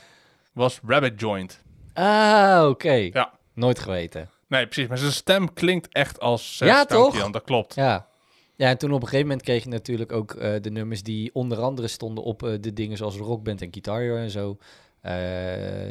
Speaker 2: was Rabbit Joint.
Speaker 1: Ah, oké.
Speaker 2: Ja.
Speaker 1: Nooit geweten.
Speaker 2: Nee, precies. Maar zijn stem klinkt echt als Seth
Speaker 1: Ja, toch?
Speaker 2: Stankian, Dat klopt.
Speaker 1: Ja. Ja, en toen op een gegeven moment kreeg je natuurlijk ook eh, de nummers die onder andere stonden op eh, de dingen zoals Rockband en Guitar Hero en zo. Eh,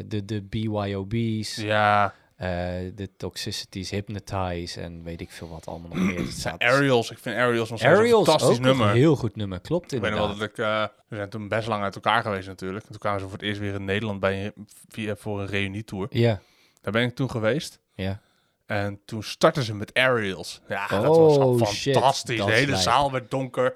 Speaker 1: de, de BYOB's,
Speaker 2: Ja,
Speaker 1: eh, de Toxicities, Hypnotize en weet ik veel wat allemaal nog meer. Het staat-
Speaker 2: Aerials. Ik vind Aerials nog steeds
Speaker 1: Aerials,
Speaker 2: een fantastisch
Speaker 1: ook
Speaker 2: nummer.
Speaker 1: een heel goed nummer, klopt
Speaker 2: Ik weet nog
Speaker 1: inderdaad.
Speaker 2: wel dat ik... eh, we zijn toen best lang uit elkaar geweest natuurlijk. En toen kwamen ze voor het eerst weer in Nederland bij, via, voor een reunietour.
Speaker 1: Ja,
Speaker 2: Daar ben ik toen geweest.
Speaker 1: ja.
Speaker 2: En toen startten ze met aerials. Ja, dat was al
Speaker 1: Oh, shit.
Speaker 2: fantastisch.
Speaker 1: Dat
Speaker 2: de
Speaker 1: is
Speaker 2: hele
Speaker 1: lijp.
Speaker 2: zaal werd donker.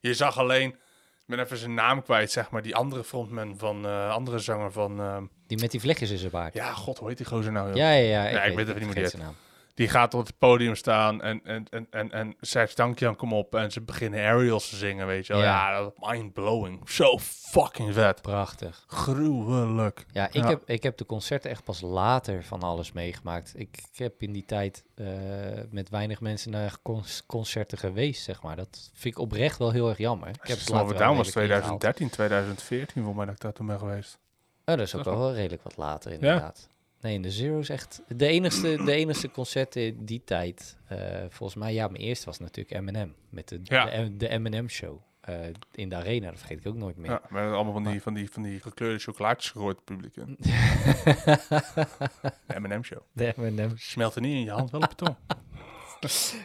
Speaker 2: Je zag alleen, ik ben even zijn naam kwijt, zeg maar, die andere frontman van, eh, andere zanger van, ehm,
Speaker 1: Die met die vlechtjes in zijn baard.
Speaker 2: ja, god, hoe heet die gozer nou? joh?
Speaker 1: ja, ja. ja,
Speaker 2: Ja, ik
Speaker 1: het,
Speaker 2: weet even niet hoe
Speaker 1: vergeet
Speaker 2: die
Speaker 1: zijn naam.
Speaker 2: Die gaat op het podium staan en, en, en, en, en zegt dankjan, kom op. En ze beginnen aerials te zingen, weet je wel.
Speaker 1: Ja.
Speaker 2: Ja, dat mind-blowing. Zo fucking vet.
Speaker 1: Prachtig.
Speaker 2: Gruwelijk.
Speaker 1: Ja, ik,
Speaker 2: Ja.
Speaker 1: Heb, ik heb de concerten echt pas later van alles meegemaakt. Ik, ik heb in die tijd eh, met weinig mensen naar con- concerten geweest, zeg maar. Dat vind ik oprecht wel heel erg jammer. Ik heb het
Speaker 2: Slow
Speaker 1: later
Speaker 2: It
Speaker 1: wel
Speaker 2: Down was
Speaker 1: redelijk ingehaald.
Speaker 2: 2013, 2014 voor mij dat ik daar toen ben geweest.
Speaker 1: Oh, dat is ook
Speaker 2: Dat is
Speaker 1: wel, wel redelijk wat later, inderdaad. Nee, in de Zero is echt... De enigste, de enigste concerten in die tijd... eh, volgens mij, ja, mijn eerste was natuurlijk M&M. Met de,
Speaker 2: Ja.
Speaker 1: de, de M&M-show eh, in de Arena. Dat vergeet ik ook nooit meer.
Speaker 2: Ja, maar allemaal van die, van die, van die gekleurde chocolaatjes gegooid het publiek in. De M&M show.
Speaker 1: de M&M.
Speaker 2: Smelt er niet in je hand, wel op je tong.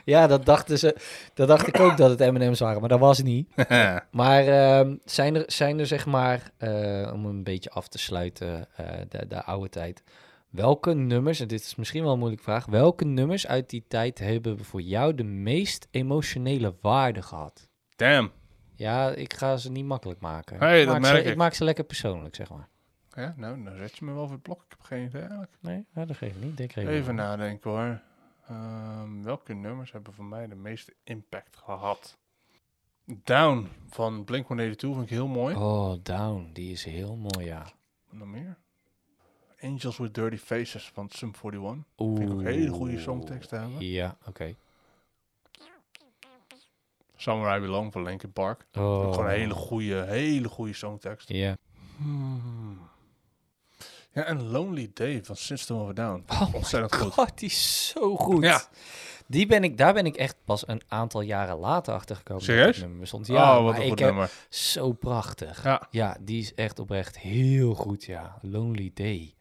Speaker 1: Ja, dat dachten ze... Dat dacht ik ook dat het M&M's waren, maar dat was het niet. Maar ehm, zijn, er, zijn er, zeg maar... eh, om een beetje af te sluiten, eh, de, de oude tijd... Welke nummers, en dit is misschien wel een moeilijke vraag... Welke nummers uit die tijd hebben voor jou de meest emotionele waarde gehad?
Speaker 2: Damn.
Speaker 1: Ja, ik ga ze niet makkelijk maken.
Speaker 2: Hey, dat
Speaker 1: maak
Speaker 2: merk
Speaker 1: ze,
Speaker 2: ik.
Speaker 1: maak ze lekker persoonlijk, zeg maar.
Speaker 2: Ja, nou, nou zet je me wel voor het blok. Ik heb geen idee eigenlijk.
Speaker 1: Nee, dat geeft niet. Denk even.
Speaker 2: Even nadenken hoor. Ehm, welke nummers hebben voor mij de meeste impact gehad? Down van Blink-182 vind ik heel mooi.
Speaker 1: Oh, Down. Die is heel mooi, ja.
Speaker 2: Nog meer? Angels with Dirty Faces van Sum 41.
Speaker 1: Oeh.
Speaker 2: Vind ik ook hele goede songteksten hebben.
Speaker 1: Ja, oké.
Speaker 2: Somewhere I Belong van Linkin Park.
Speaker 1: Oh.
Speaker 2: Gewoon een hele goede, hele goede songtekst.
Speaker 1: Ja.
Speaker 2: Hmm. Ja, en Lonely Day van System of a Down.
Speaker 1: Oh
Speaker 2: Ontzettend
Speaker 1: my
Speaker 2: goed.
Speaker 1: god, die is zo goed.
Speaker 2: Ja.
Speaker 1: Die ben ik, daar ben ik echt pas een aantal jaren later achter gekomen.
Speaker 2: Serieus?
Speaker 1: Ja,
Speaker 2: oh, wat
Speaker 1: maar
Speaker 2: een
Speaker 1: ik
Speaker 2: goed
Speaker 1: heb,
Speaker 2: nummer.
Speaker 1: zo prachtig.
Speaker 2: Ja.
Speaker 1: die is echt oprecht heel goed, ja. Lonely Day.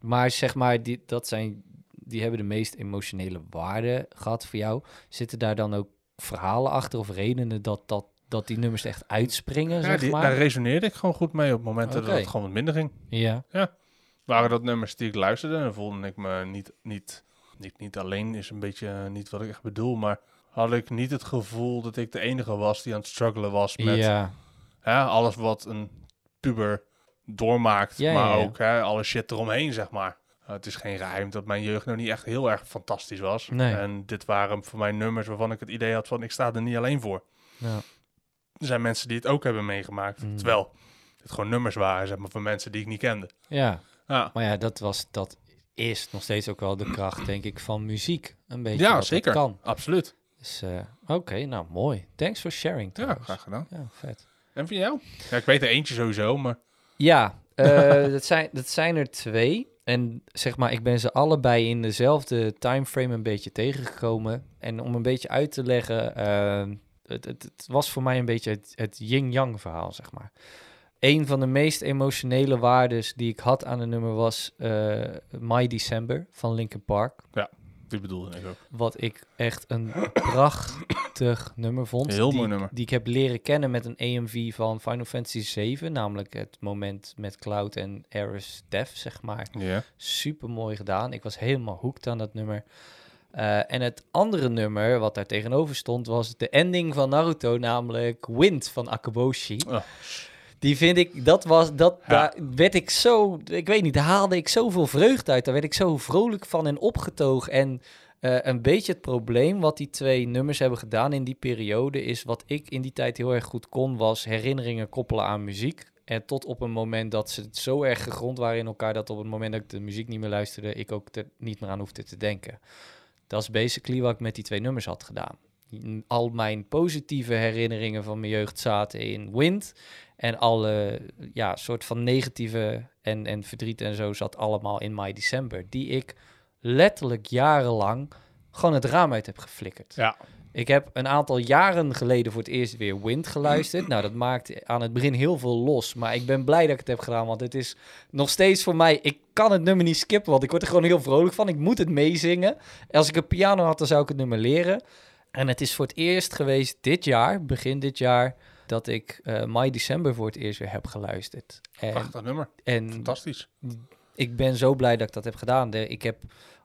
Speaker 1: Maar zeg maar, die, dat zijn, die hebben de meest emotionele waarde gehad voor jou. Zitten daar dan ook verhalen achter of redenen dat, dat, dat die nummers echt uitspringen,
Speaker 2: Ja,
Speaker 1: zeg
Speaker 2: die- daar
Speaker 1: maar?
Speaker 2: resoneerde ik gewoon goed mee op momenten dat
Speaker 1: Oké.
Speaker 2: het gewoon wat minder ging.
Speaker 1: Ja,
Speaker 2: Waren dat nummers die ik luisterde en dan voelde ik me niet, niet, niet, niet alleen is een beetje eh, niet wat ik echt bedoel, maar had ik niet het gevoel dat ik de enige was die aan het struggelen was met
Speaker 1: ja,
Speaker 2: hè, alles wat een puber doormaakt,
Speaker 1: Ja,
Speaker 2: maar
Speaker 1: ja, ja.
Speaker 2: ook hè, alle shit eromheen, zeg maar. Eh, het is geen geheim dat mijn jeugd nou niet echt heel erg fantastisch was.
Speaker 1: Nee.
Speaker 2: En dit waren voor mij nummers waarvan ik het idee had van ik sta er niet alleen voor.
Speaker 1: ja.
Speaker 2: Er zijn mensen die het ook hebben meegemaakt,
Speaker 1: Mm.
Speaker 2: terwijl het gewoon nummers waren, zeg maar, van mensen die ik niet kende.
Speaker 1: ja.
Speaker 2: Ja,
Speaker 1: Maar ja, dat, was, dat is nog steeds ook wel de kracht, denk ik, van muziek. Een beetje
Speaker 2: ja
Speaker 1: dat het
Speaker 2: zeker.
Speaker 1: kan.
Speaker 2: Absoluut.
Speaker 1: Dus, eh, oké, nou mooi. Thanks for sharing.
Speaker 2: Ja,
Speaker 1: trouwens.
Speaker 2: graag gedaan.
Speaker 1: Ja, vet.
Speaker 2: En van jou? Ja, ik weet er eentje sowieso, maar...
Speaker 1: Ja, eh, dat, zijn, dat zijn er twee. En zeg maar, ik ben ze allebei in dezelfde timeframe een beetje tegengekomen. En om een beetje uit te leggen, eh, het, het, het was voor mij een beetje het, het yin-yang verhaal, zeg maar. Een van de meest emotionele waardes die ik had aan een nummer was eh, My December van Linkin Park.
Speaker 2: Die bedoelde ik ook.
Speaker 1: Wat ik echt een prachtig nummer vond.
Speaker 2: Heel
Speaker 1: die,
Speaker 2: mooi nummer.
Speaker 1: Die ik heb leren kennen met een EMV van Final Fantasy 7. Namelijk het moment met Cloud en Aerith Death, zeg maar.
Speaker 2: Ja.
Speaker 1: Super mooi gedaan. Ik was helemaal hooked aan dat nummer. Eh, en het andere nummer wat daar tegenover stond was de ending van Naruto, namelijk Wind van Akaboshi.
Speaker 2: Oh.
Speaker 1: Die vind ik, dat was, dat,
Speaker 2: Ja.
Speaker 1: daar werd ik zo, ik weet niet, daar haalde ik zoveel vreugde uit. Daar werd ik zo vrolijk van en opgetoog. En eh, een beetje het probleem wat die twee nummers hebben gedaan in die periode is, wat ik in die tijd heel erg goed kon, was herinneringen koppelen aan muziek. En tot op een moment dat ze het zo erg gegrond waren in elkaar, dat op het moment dat ik de muziek niet meer luisterde, ik ook er niet meer aan hoefde te denken. Dat is basically wat ik met die twee nummers had gedaan. Al mijn positieve herinneringen van mijn jeugd zaten in Wind. En alle ja, soort van negatieve en, en verdriet en zo zat allemaal in My December. Die ik letterlijk jarenlang gewoon het raam uit heb geflikkerd.
Speaker 2: Ja.
Speaker 1: Ik heb een aantal jaren geleden voor het eerst weer Wind geluisterd. Nou, dat maakt aan het begin heel veel los. Maar ik ben blij dat ik het heb gedaan, want het is nog steeds voor mij... Ik kan het nummer niet skippen, want ik word er gewoon heel vrolijk van. Ik moet het meezingen. Als ik een piano had, dan zou ik het nummer leren. En het is voor het eerst geweest dit jaar, begin dit jaar... dat ik eh My December voor het eerst weer heb geluisterd. En,
Speaker 2: Prachtig nummer.
Speaker 1: en
Speaker 2: Fantastisch.
Speaker 1: ik ben zo blij dat ik dat heb gedaan. De- Ik heb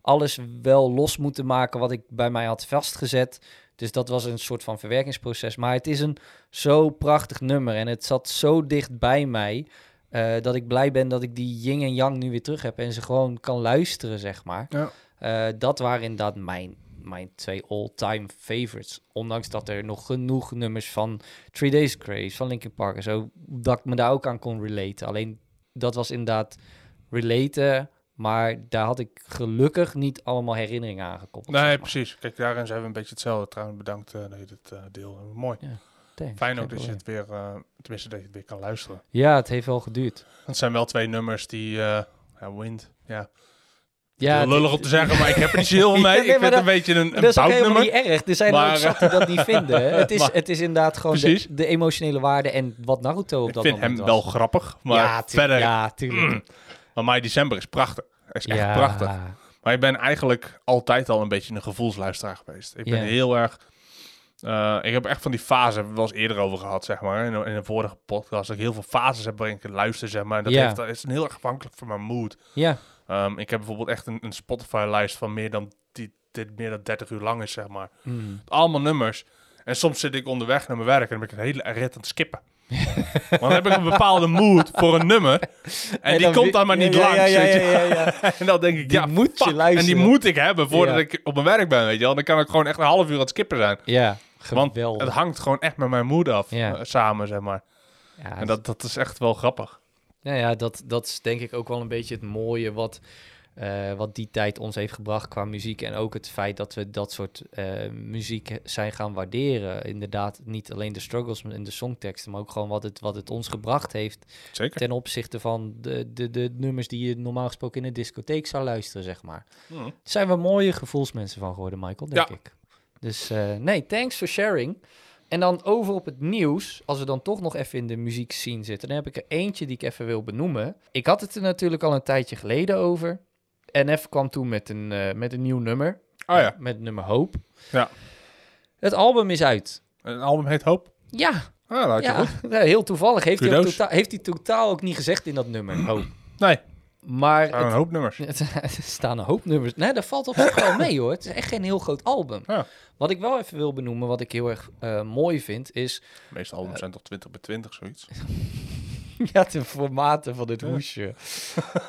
Speaker 1: alles wel los moeten maken wat ik bij mij had vastgezet. Dus dat was een soort van verwerkingsproces. Maar het is een zo prachtig nummer en het zat zo dicht bij mij. eh, dat ik blij ben dat ik die yin en yang nu weer terug heb en ze gewoon kan luisteren, zeg maar.
Speaker 2: Ja.
Speaker 1: Eh, dat waren inderdaad mijn, mijn twee all-time favorites. Ondanks dat er nog genoeg nummers van Three Days Grace, van Linkin Park en zo, dat ik me daar ook aan kon relaten. Alleen dat was inderdaad relaten, maar daar had ik gelukkig niet allemaal herinneringen aan gekoppeld.
Speaker 2: Nee,
Speaker 1: zeg maar.
Speaker 2: precies. Kijk, daarin zijn we een beetje hetzelfde. Trouwens, bedankt eh, dat je dit eh, deel. Mooi.
Speaker 1: Thanks,
Speaker 2: Fijn
Speaker 1: geen
Speaker 2: ook dat je
Speaker 1: probleem.
Speaker 2: het weer, eh, tenminste dat je het weer kan luisteren.
Speaker 1: Ja, het heeft wel geduurd.
Speaker 2: Want Het zijn wel twee nummers die... eh ja, Wind. Ja,
Speaker 1: Ja,
Speaker 2: Heel
Speaker 1: het-
Speaker 2: lullig om te zeggen, maar ik heb er niet zo heel mee.
Speaker 1: Ja, nee,
Speaker 2: ik vind
Speaker 1: maar
Speaker 2: het een
Speaker 1: dat-
Speaker 2: beetje een,
Speaker 1: Dat
Speaker 2: een
Speaker 1: is ook helemaal
Speaker 2: boutnummer.
Speaker 1: niet erg. Er zijn
Speaker 2: Maar, eh,
Speaker 1: ook zat die dat niet vinden. hè. Het is,
Speaker 2: maar-
Speaker 1: het is inderdaad gewoon de,
Speaker 2: Precies.
Speaker 1: de emotionele waarde en wat Naruto op
Speaker 2: Ik
Speaker 1: dat
Speaker 2: vind hem
Speaker 1: moment
Speaker 2: wel
Speaker 1: was.
Speaker 2: grappig, maar
Speaker 1: ja, tu-
Speaker 2: verder...
Speaker 1: Ja, tuurlijk.
Speaker 2: Mm. maar My December is prachtig. Is echt
Speaker 1: ja.
Speaker 2: prachtig. Maar ik ben eigenlijk altijd al een beetje een gevoelsluisteraar geweest. Ik ben
Speaker 1: Ja.
Speaker 2: heel erg... eh, ik heb echt van die fases, hebben we wel eens eerder over gehad, zeg maar. In, in een vorige podcast, dat ik heel veel fases heb waarin ik luister, zeg maar. En dat
Speaker 1: Ja.
Speaker 2: heeft, dat is heel erg afhankelijk van mijn mood.
Speaker 1: Ja,
Speaker 2: Ehm, ik heb bijvoorbeeld echt een, een Spotify-lijst van meer dan, die, dit meer dan 30 uur lang is, zeg maar.
Speaker 1: Mm.
Speaker 2: allemaal nummers. En soms zit ik onderweg naar mijn werk en dan ben ik een hele rit aan het skippen. Want dan heb ik een bepaalde mood voor een nummer. En, die
Speaker 1: dan
Speaker 2: komt
Speaker 1: wi-
Speaker 2: dan maar niet
Speaker 1: ja,
Speaker 2: langs.
Speaker 1: ja, ja,
Speaker 2: weet je.
Speaker 1: ja, ja, ja.
Speaker 2: en dan denk ik,
Speaker 1: Die
Speaker 2: ja,
Speaker 1: moet je
Speaker 2: fuck. En die
Speaker 1: luisteren.
Speaker 2: moet ik hebben voordat
Speaker 1: Ja.
Speaker 2: ik op mijn werk ben, weet je wel. Dan kan ik gewoon echt een half uur aan het skippen zijn.
Speaker 1: Ja,
Speaker 2: Want
Speaker 1: geweldig.
Speaker 2: het hangt gewoon echt met mijn mood af.
Speaker 1: Ja.
Speaker 2: eh, samen, zeg maar.
Speaker 1: ja,
Speaker 2: En dat, dat is echt wel grappig.
Speaker 1: nou ja, dat, dat is denk ik ook wel een beetje het mooie wat, eh, wat die tijd ons heeft gebracht qua muziek. En ook het feit dat we dat soort eh, muziek zijn gaan waarderen. Inderdaad, niet alleen de struggles in de songteksten, maar ook gewoon wat het, wat het ons gebracht heeft
Speaker 2: Zeker.
Speaker 1: ten opzichte van de, de, de nummers die je normaal gesproken in een discotheek zou luisteren, zeg maar.
Speaker 2: Hm.
Speaker 1: Er zijn we mooie gevoelsmensen van geworden, Michael, denk
Speaker 2: Ja.
Speaker 1: ik. Dus eh, nee, thanks for sharing. En dan over op het nieuws. Als we dan toch nog even in de muziek scene zitten, dan heb ik er eentje die ik even wil benoemen. Ik had het er natuurlijk al een tijdje geleden over. NF kwam toen met een, eh, met een nieuw nummer.
Speaker 2: Oh ja,
Speaker 1: Met het nummer Hoop.
Speaker 2: Ja.
Speaker 1: Het album is uit.
Speaker 2: een album heet Hoop.
Speaker 1: Ja,
Speaker 2: Ah, dat had je
Speaker 1: ja
Speaker 2: goed.
Speaker 1: nou, heel toevallig. Heeft hij, ook
Speaker 2: Kudos.
Speaker 1: totaal, heeft hij totaal ook niet gezegd in dat nummer, Hoop.
Speaker 2: Nee, er
Speaker 1: Maar
Speaker 2: staan een
Speaker 1: het-
Speaker 2: Ah, hoop nummers.
Speaker 1: het, er staan een hoop nummers. Nee, dat valt op zich wel mee hoor. Het is echt geen heel groot album.
Speaker 2: Ja.
Speaker 1: Wat ik wel even wil benoemen, wat ik heel erg eh, mooi vind, is
Speaker 2: De meeste albums zijn toch 20 bij 20, zoiets.
Speaker 1: ja, de formaten van dit
Speaker 2: Ja.
Speaker 1: hoesje.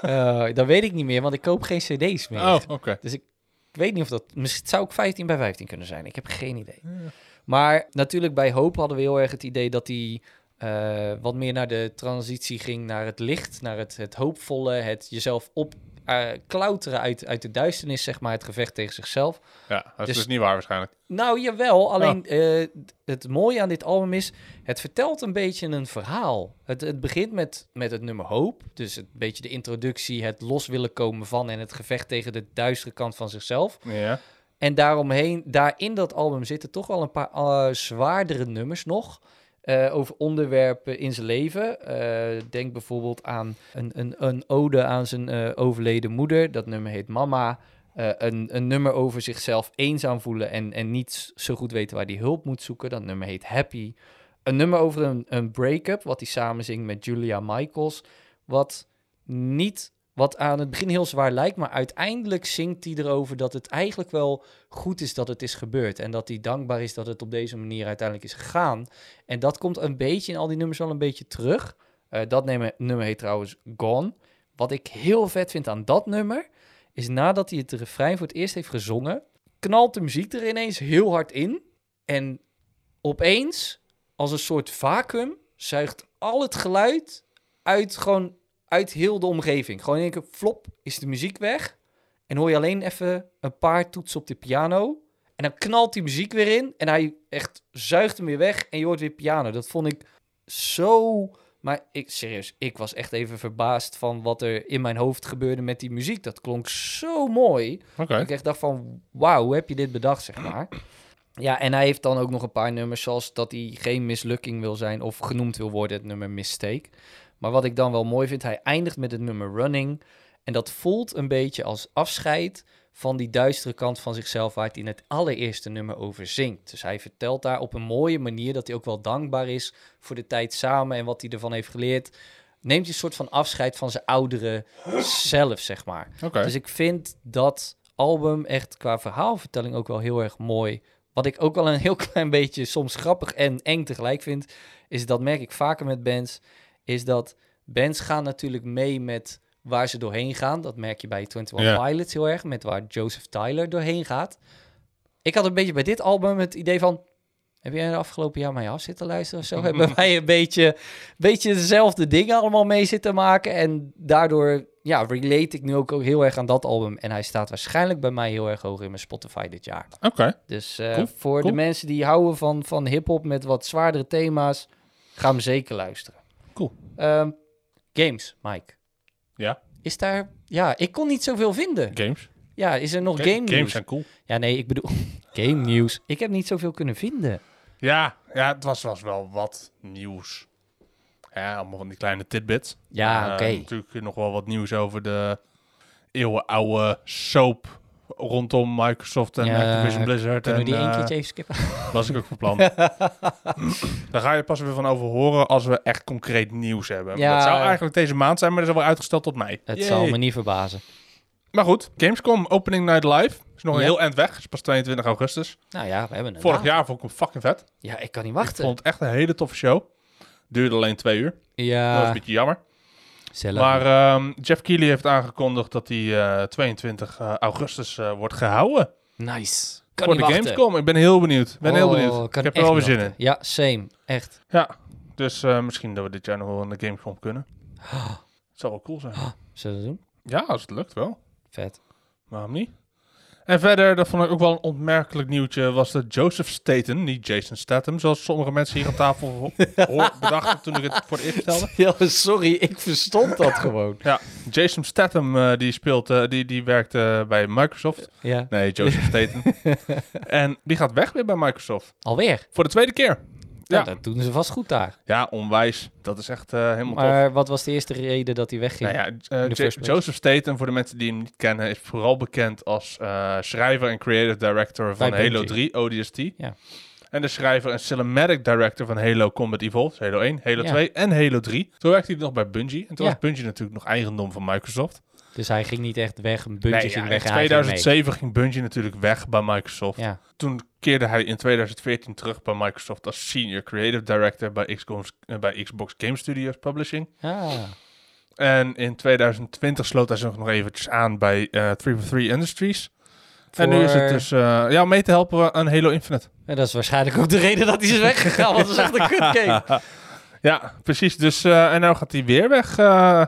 Speaker 1: Eh dat weet ik niet meer, want ik koop geen cd's meer.
Speaker 2: Oh, oké.
Speaker 1: Dus ik weet niet of dat... misschien- Het zou ook 15 bij 15 kunnen zijn. Ik heb geen idee. Maar natuurlijk bij Hoop hadden we heel erg het idee dat hij eh, wat meer naar de transitie ging, naar het licht, naar het, het hoopvolle, het jezelf op eh, klauteren uit, uit de duisternis, zeg maar, het gevecht tegen zichzelf.
Speaker 2: Ja, dat is
Speaker 1: Dus-
Speaker 2: dus, niet waar waarschijnlijk.
Speaker 1: Nou, jawel. Alleen eh, d- het mooie aan dit album is, het vertelt een beetje een verhaal. Het, het begint met, met het nummer Hoop. Dus een beetje de introductie, het los willen komen van en het gevecht tegen de duistere kant van zichzelf.
Speaker 2: Ja.
Speaker 1: En daaromheen, daar in dat album zitten toch wel een paar eh, zwaardere nummers nog. eh, over onderwerpen in zijn leven. Eh, denk bijvoorbeeld aan een, een, een ode aan zijn eh, overleden moeder. Dat nummer heet Mama. Eh, een, een nummer over zichzelf eenzaam voelen en, en niet zo goed weten waar hij hulp moet zoeken. Dat nummer heet Happy. Een nummer over een, een break-up, wat hij samen zingt met Julia Michaels. Wat niet, wat aan het begin heel zwaar lijkt, maar uiteindelijk zingt hij erover dat het eigenlijk wel goed is dat het is gebeurd. En dat hij dankbaar is dat het op deze manier uiteindelijk is gegaan. En dat komt een beetje in al die nummers wel een beetje terug. Eh, dat nummer, nummer heet trouwens Gone. Wat ik heel vet vind aan dat nummer, is nadat hij het refrein voor het eerst heeft gezongen, knalt de muziek er ineens heel hard in. En opeens, als een soort vacuüm, zuigt al het geluid uit, gewoon uit heel de omgeving. Gewoon in één keer, flop, is de muziek weg. En hoor je alleen even een paar toetsen op de piano. En dan knalt die muziek weer in. En hij echt zuigt hem weer weg. En je hoort weer piano. Dat vond ik zo. Maar ik, serieus, ik was echt even verbaasd van wat er in mijn hoofd gebeurde met die muziek. Dat klonk zo mooi.
Speaker 2: Oké.
Speaker 1: Ik echt dacht van, wauw, hoe heb je dit bedacht, zeg maar. Ja, en hij heeft dan ook nog een paar nummers, zoals dat hij geen mislukking wil zijn of genoemd wil worden, het nummer Mistake. Maar wat ik dan wel mooi vind, hij eindigt met het nummer Running. En dat voelt een beetje als afscheid van die duistere kant van zichzelf waar het in het allereerste nummer over zingt. Dus hij vertelt daar op een mooie manier dat hij ook wel dankbaar is voor de tijd samen en wat hij ervan heeft geleerd. Neemt hij een soort van afscheid van zijn oudere zelf, zeg maar.
Speaker 2: Oké.
Speaker 1: Dus ik Dus vind dat album echt qua verhaalvertelling ook wel heel erg mooi. Wat ik ook wel een heel klein beetje soms grappig en eng tegelijk vind, is dat merk ik vaker met bands, is dat bands gaan natuurlijk mee met waar ze doorheen gaan. Dat merk je bij 21
Speaker 2: Ja.
Speaker 1: Pilots heel erg, met waar Joseph Tyler doorheen gaat. Ik had een beetje bij dit album het idee van, heb jij de afgelopen jaar mij af zitten luisteren of zo? Hebben wij een beetje, beetje dezelfde dingen allemaal mee zitten maken? En daardoor ja, relate ik nu ook heel erg aan dat album. En hij staat waarschijnlijk bij mij heel erg hoog in mijn Spotify dit jaar.
Speaker 2: Oké.
Speaker 1: Dus eh,
Speaker 2: Cool,
Speaker 1: voor
Speaker 2: cool.
Speaker 1: de mensen die houden van, van hip-hop met wat zwaardere thema's, ga hem zeker luisteren.
Speaker 2: Cool.
Speaker 1: Ehm, games, Mike.
Speaker 2: Ja?
Speaker 1: Is daar. Ja, ik kon niet zoveel vinden.
Speaker 2: Games.
Speaker 1: Ja, is er nog
Speaker 2: Ga-
Speaker 1: game nieuws?
Speaker 2: Games zijn cool.
Speaker 1: Ja, nee, ik bedoel. game nieuws. Ik heb niet zoveel kunnen vinden.
Speaker 2: Ja, ja het was, was wel wat nieuws. Ja, allemaal van die kleine tidbits.
Speaker 1: Ja,
Speaker 2: Eh,
Speaker 1: oké.
Speaker 2: Natuurlijk nog wel wat nieuws over de eeuwenoude soap rondom Microsoft en
Speaker 1: Ja,
Speaker 2: Activision Blizzard.
Speaker 1: Kunnen
Speaker 2: en,
Speaker 1: we die één
Speaker 2: eh,
Speaker 1: keertje even skippen?
Speaker 2: was ik ook van plan. Daar ga je pas weer van over horen als we echt concreet nieuws hebben.
Speaker 1: Ja.
Speaker 2: Dat zou eigenlijk deze maand zijn, maar dat is alweer uitgesteld tot mei.
Speaker 1: Het
Speaker 2: Yay.
Speaker 1: zal me niet verbazen.
Speaker 2: Maar goed, Gamescom Opening Night Live. Is nog een
Speaker 1: Ja.
Speaker 2: heel eind weg. Is pas 22 augustus.
Speaker 1: Nou ja, we hebben een
Speaker 2: Vorig
Speaker 1: naam.
Speaker 2: jaar vond ik hem fucking vet.
Speaker 1: Ja, ik kan niet
Speaker 2: Ik
Speaker 1: wachten.
Speaker 2: vond het echt een hele toffe show. Duurde alleen twee uur. Dat was een
Speaker 1: Ja,
Speaker 2: beetje jammer.
Speaker 1: zelf.
Speaker 2: Maar ehm, Jeff Keighley heeft aangekondigd dat hij eh, 22 augustus eh, wordt gehouden.
Speaker 1: nice. Kan
Speaker 2: voor
Speaker 1: niet
Speaker 2: de
Speaker 1: wachten.
Speaker 2: Gamescom. Ik ben heel benieuwd. Ik ben heel
Speaker 1: Oh,
Speaker 2: benieuwd.
Speaker 1: kan
Speaker 2: Ik heb er
Speaker 1: echt
Speaker 2: wel weer
Speaker 1: niet
Speaker 2: zin in.
Speaker 1: wachten. Ja, same. Echt.
Speaker 2: Ja, dus eh, misschien dat we dit jaar nog wel aan de Gamescom kunnen. Het zou wel cool zijn.
Speaker 1: Zullen we dat doen?
Speaker 2: Ja, als het lukt wel.
Speaker 1: Vet.
Speaker 2: Waarom niet? En verder, dat vond ik ook wel een opmerkelijk nieuwtje, was dat Joseph Staten, niet Jason Statham, zoals sommige mensen hier aan tafel ho- ho- bedachten toen ik het voor het eerst vertelde.
Speaker 1: Ja, sorry, ik verstond dat gewoon.
Speaker 2: Ja, Jason Statham, eh, die speelt, eh, die, die werkt eh, bij Microsoft.
Speaker 1: Ja.
Speaker 2: Nee, Joseph Staten. en die gaat weg weer bij Microsoft.
Speaker 1: Alweer.
Speaker 2: Voor de tweede keer.
Speaker 1: Ja.
Speaker 2: Ja.
Speaker 1: dat doen ze vast goed daar.
Speaker 2: Ja, onwijs. Dat is echt eh, helemaal tof.
Speaker 1: Maar wat was de eerste reden dat hij wegging?
Speaker 2: Nou ja, eh,
Speaker 1: in the
Speaker 2: Jo-
Speaker 1: first place.
Speaker 2: Joseph Staten, voor de mensen die hem niet kennen, is vooral bekend als eh, schrijver en creative director van
Speaker 1: Bij
Speaker 2: Halo
Speaker 1: Bungie.
Speaker 2: 3, ODST.
Speaker 1: Ja.
Speaker 2: En de schrijver en cinematic director van Halo Combat Evolved, Halo 1, Halo
Speaker 1: Ja.
Speaker 2: 2 en Halo 3. Toen werkte hij nog bij Bungie. En toen
Speaker 1: Ja.
Speaker 2: was Bungie natuurlijk nog eigendom van Microsoft.
Speaker 1: Dus hij ging niet echt weg, een
Speaker 2: Nee,
Speaker 1: buntje
Speaker 2: ja,
Speaker 1: ging
Speaker 2: in
Speaker 1: weg. en hij ging mee.
Speaker 2: 2007 ging Bungie natuurlijk weg bij Microsoft.
Speaker 1: Ja,
Speaker 2: Toen keerde hij in 2014 terug bij Microsoft als senior creative director bij, XCOM eh, bij Xbox Game Studios Publishing.
Speaker 1: ah,
Speaker 2: En in 2020 sloot hij zich nog eventjes aan bij eh 343 Industries.
Speaker 1: Voor-
Speaker 2: En nu is het dus eh, ja, om mee te helpen aan Halo Infinite.
Speaker 1: En dat is waarschijnlijk ook de reden dat hij is weggegaan, want dat is echt een kutgame.
Speaker 2: Ja, precies. Dus, eh, en nou gaat hij weer weg eh,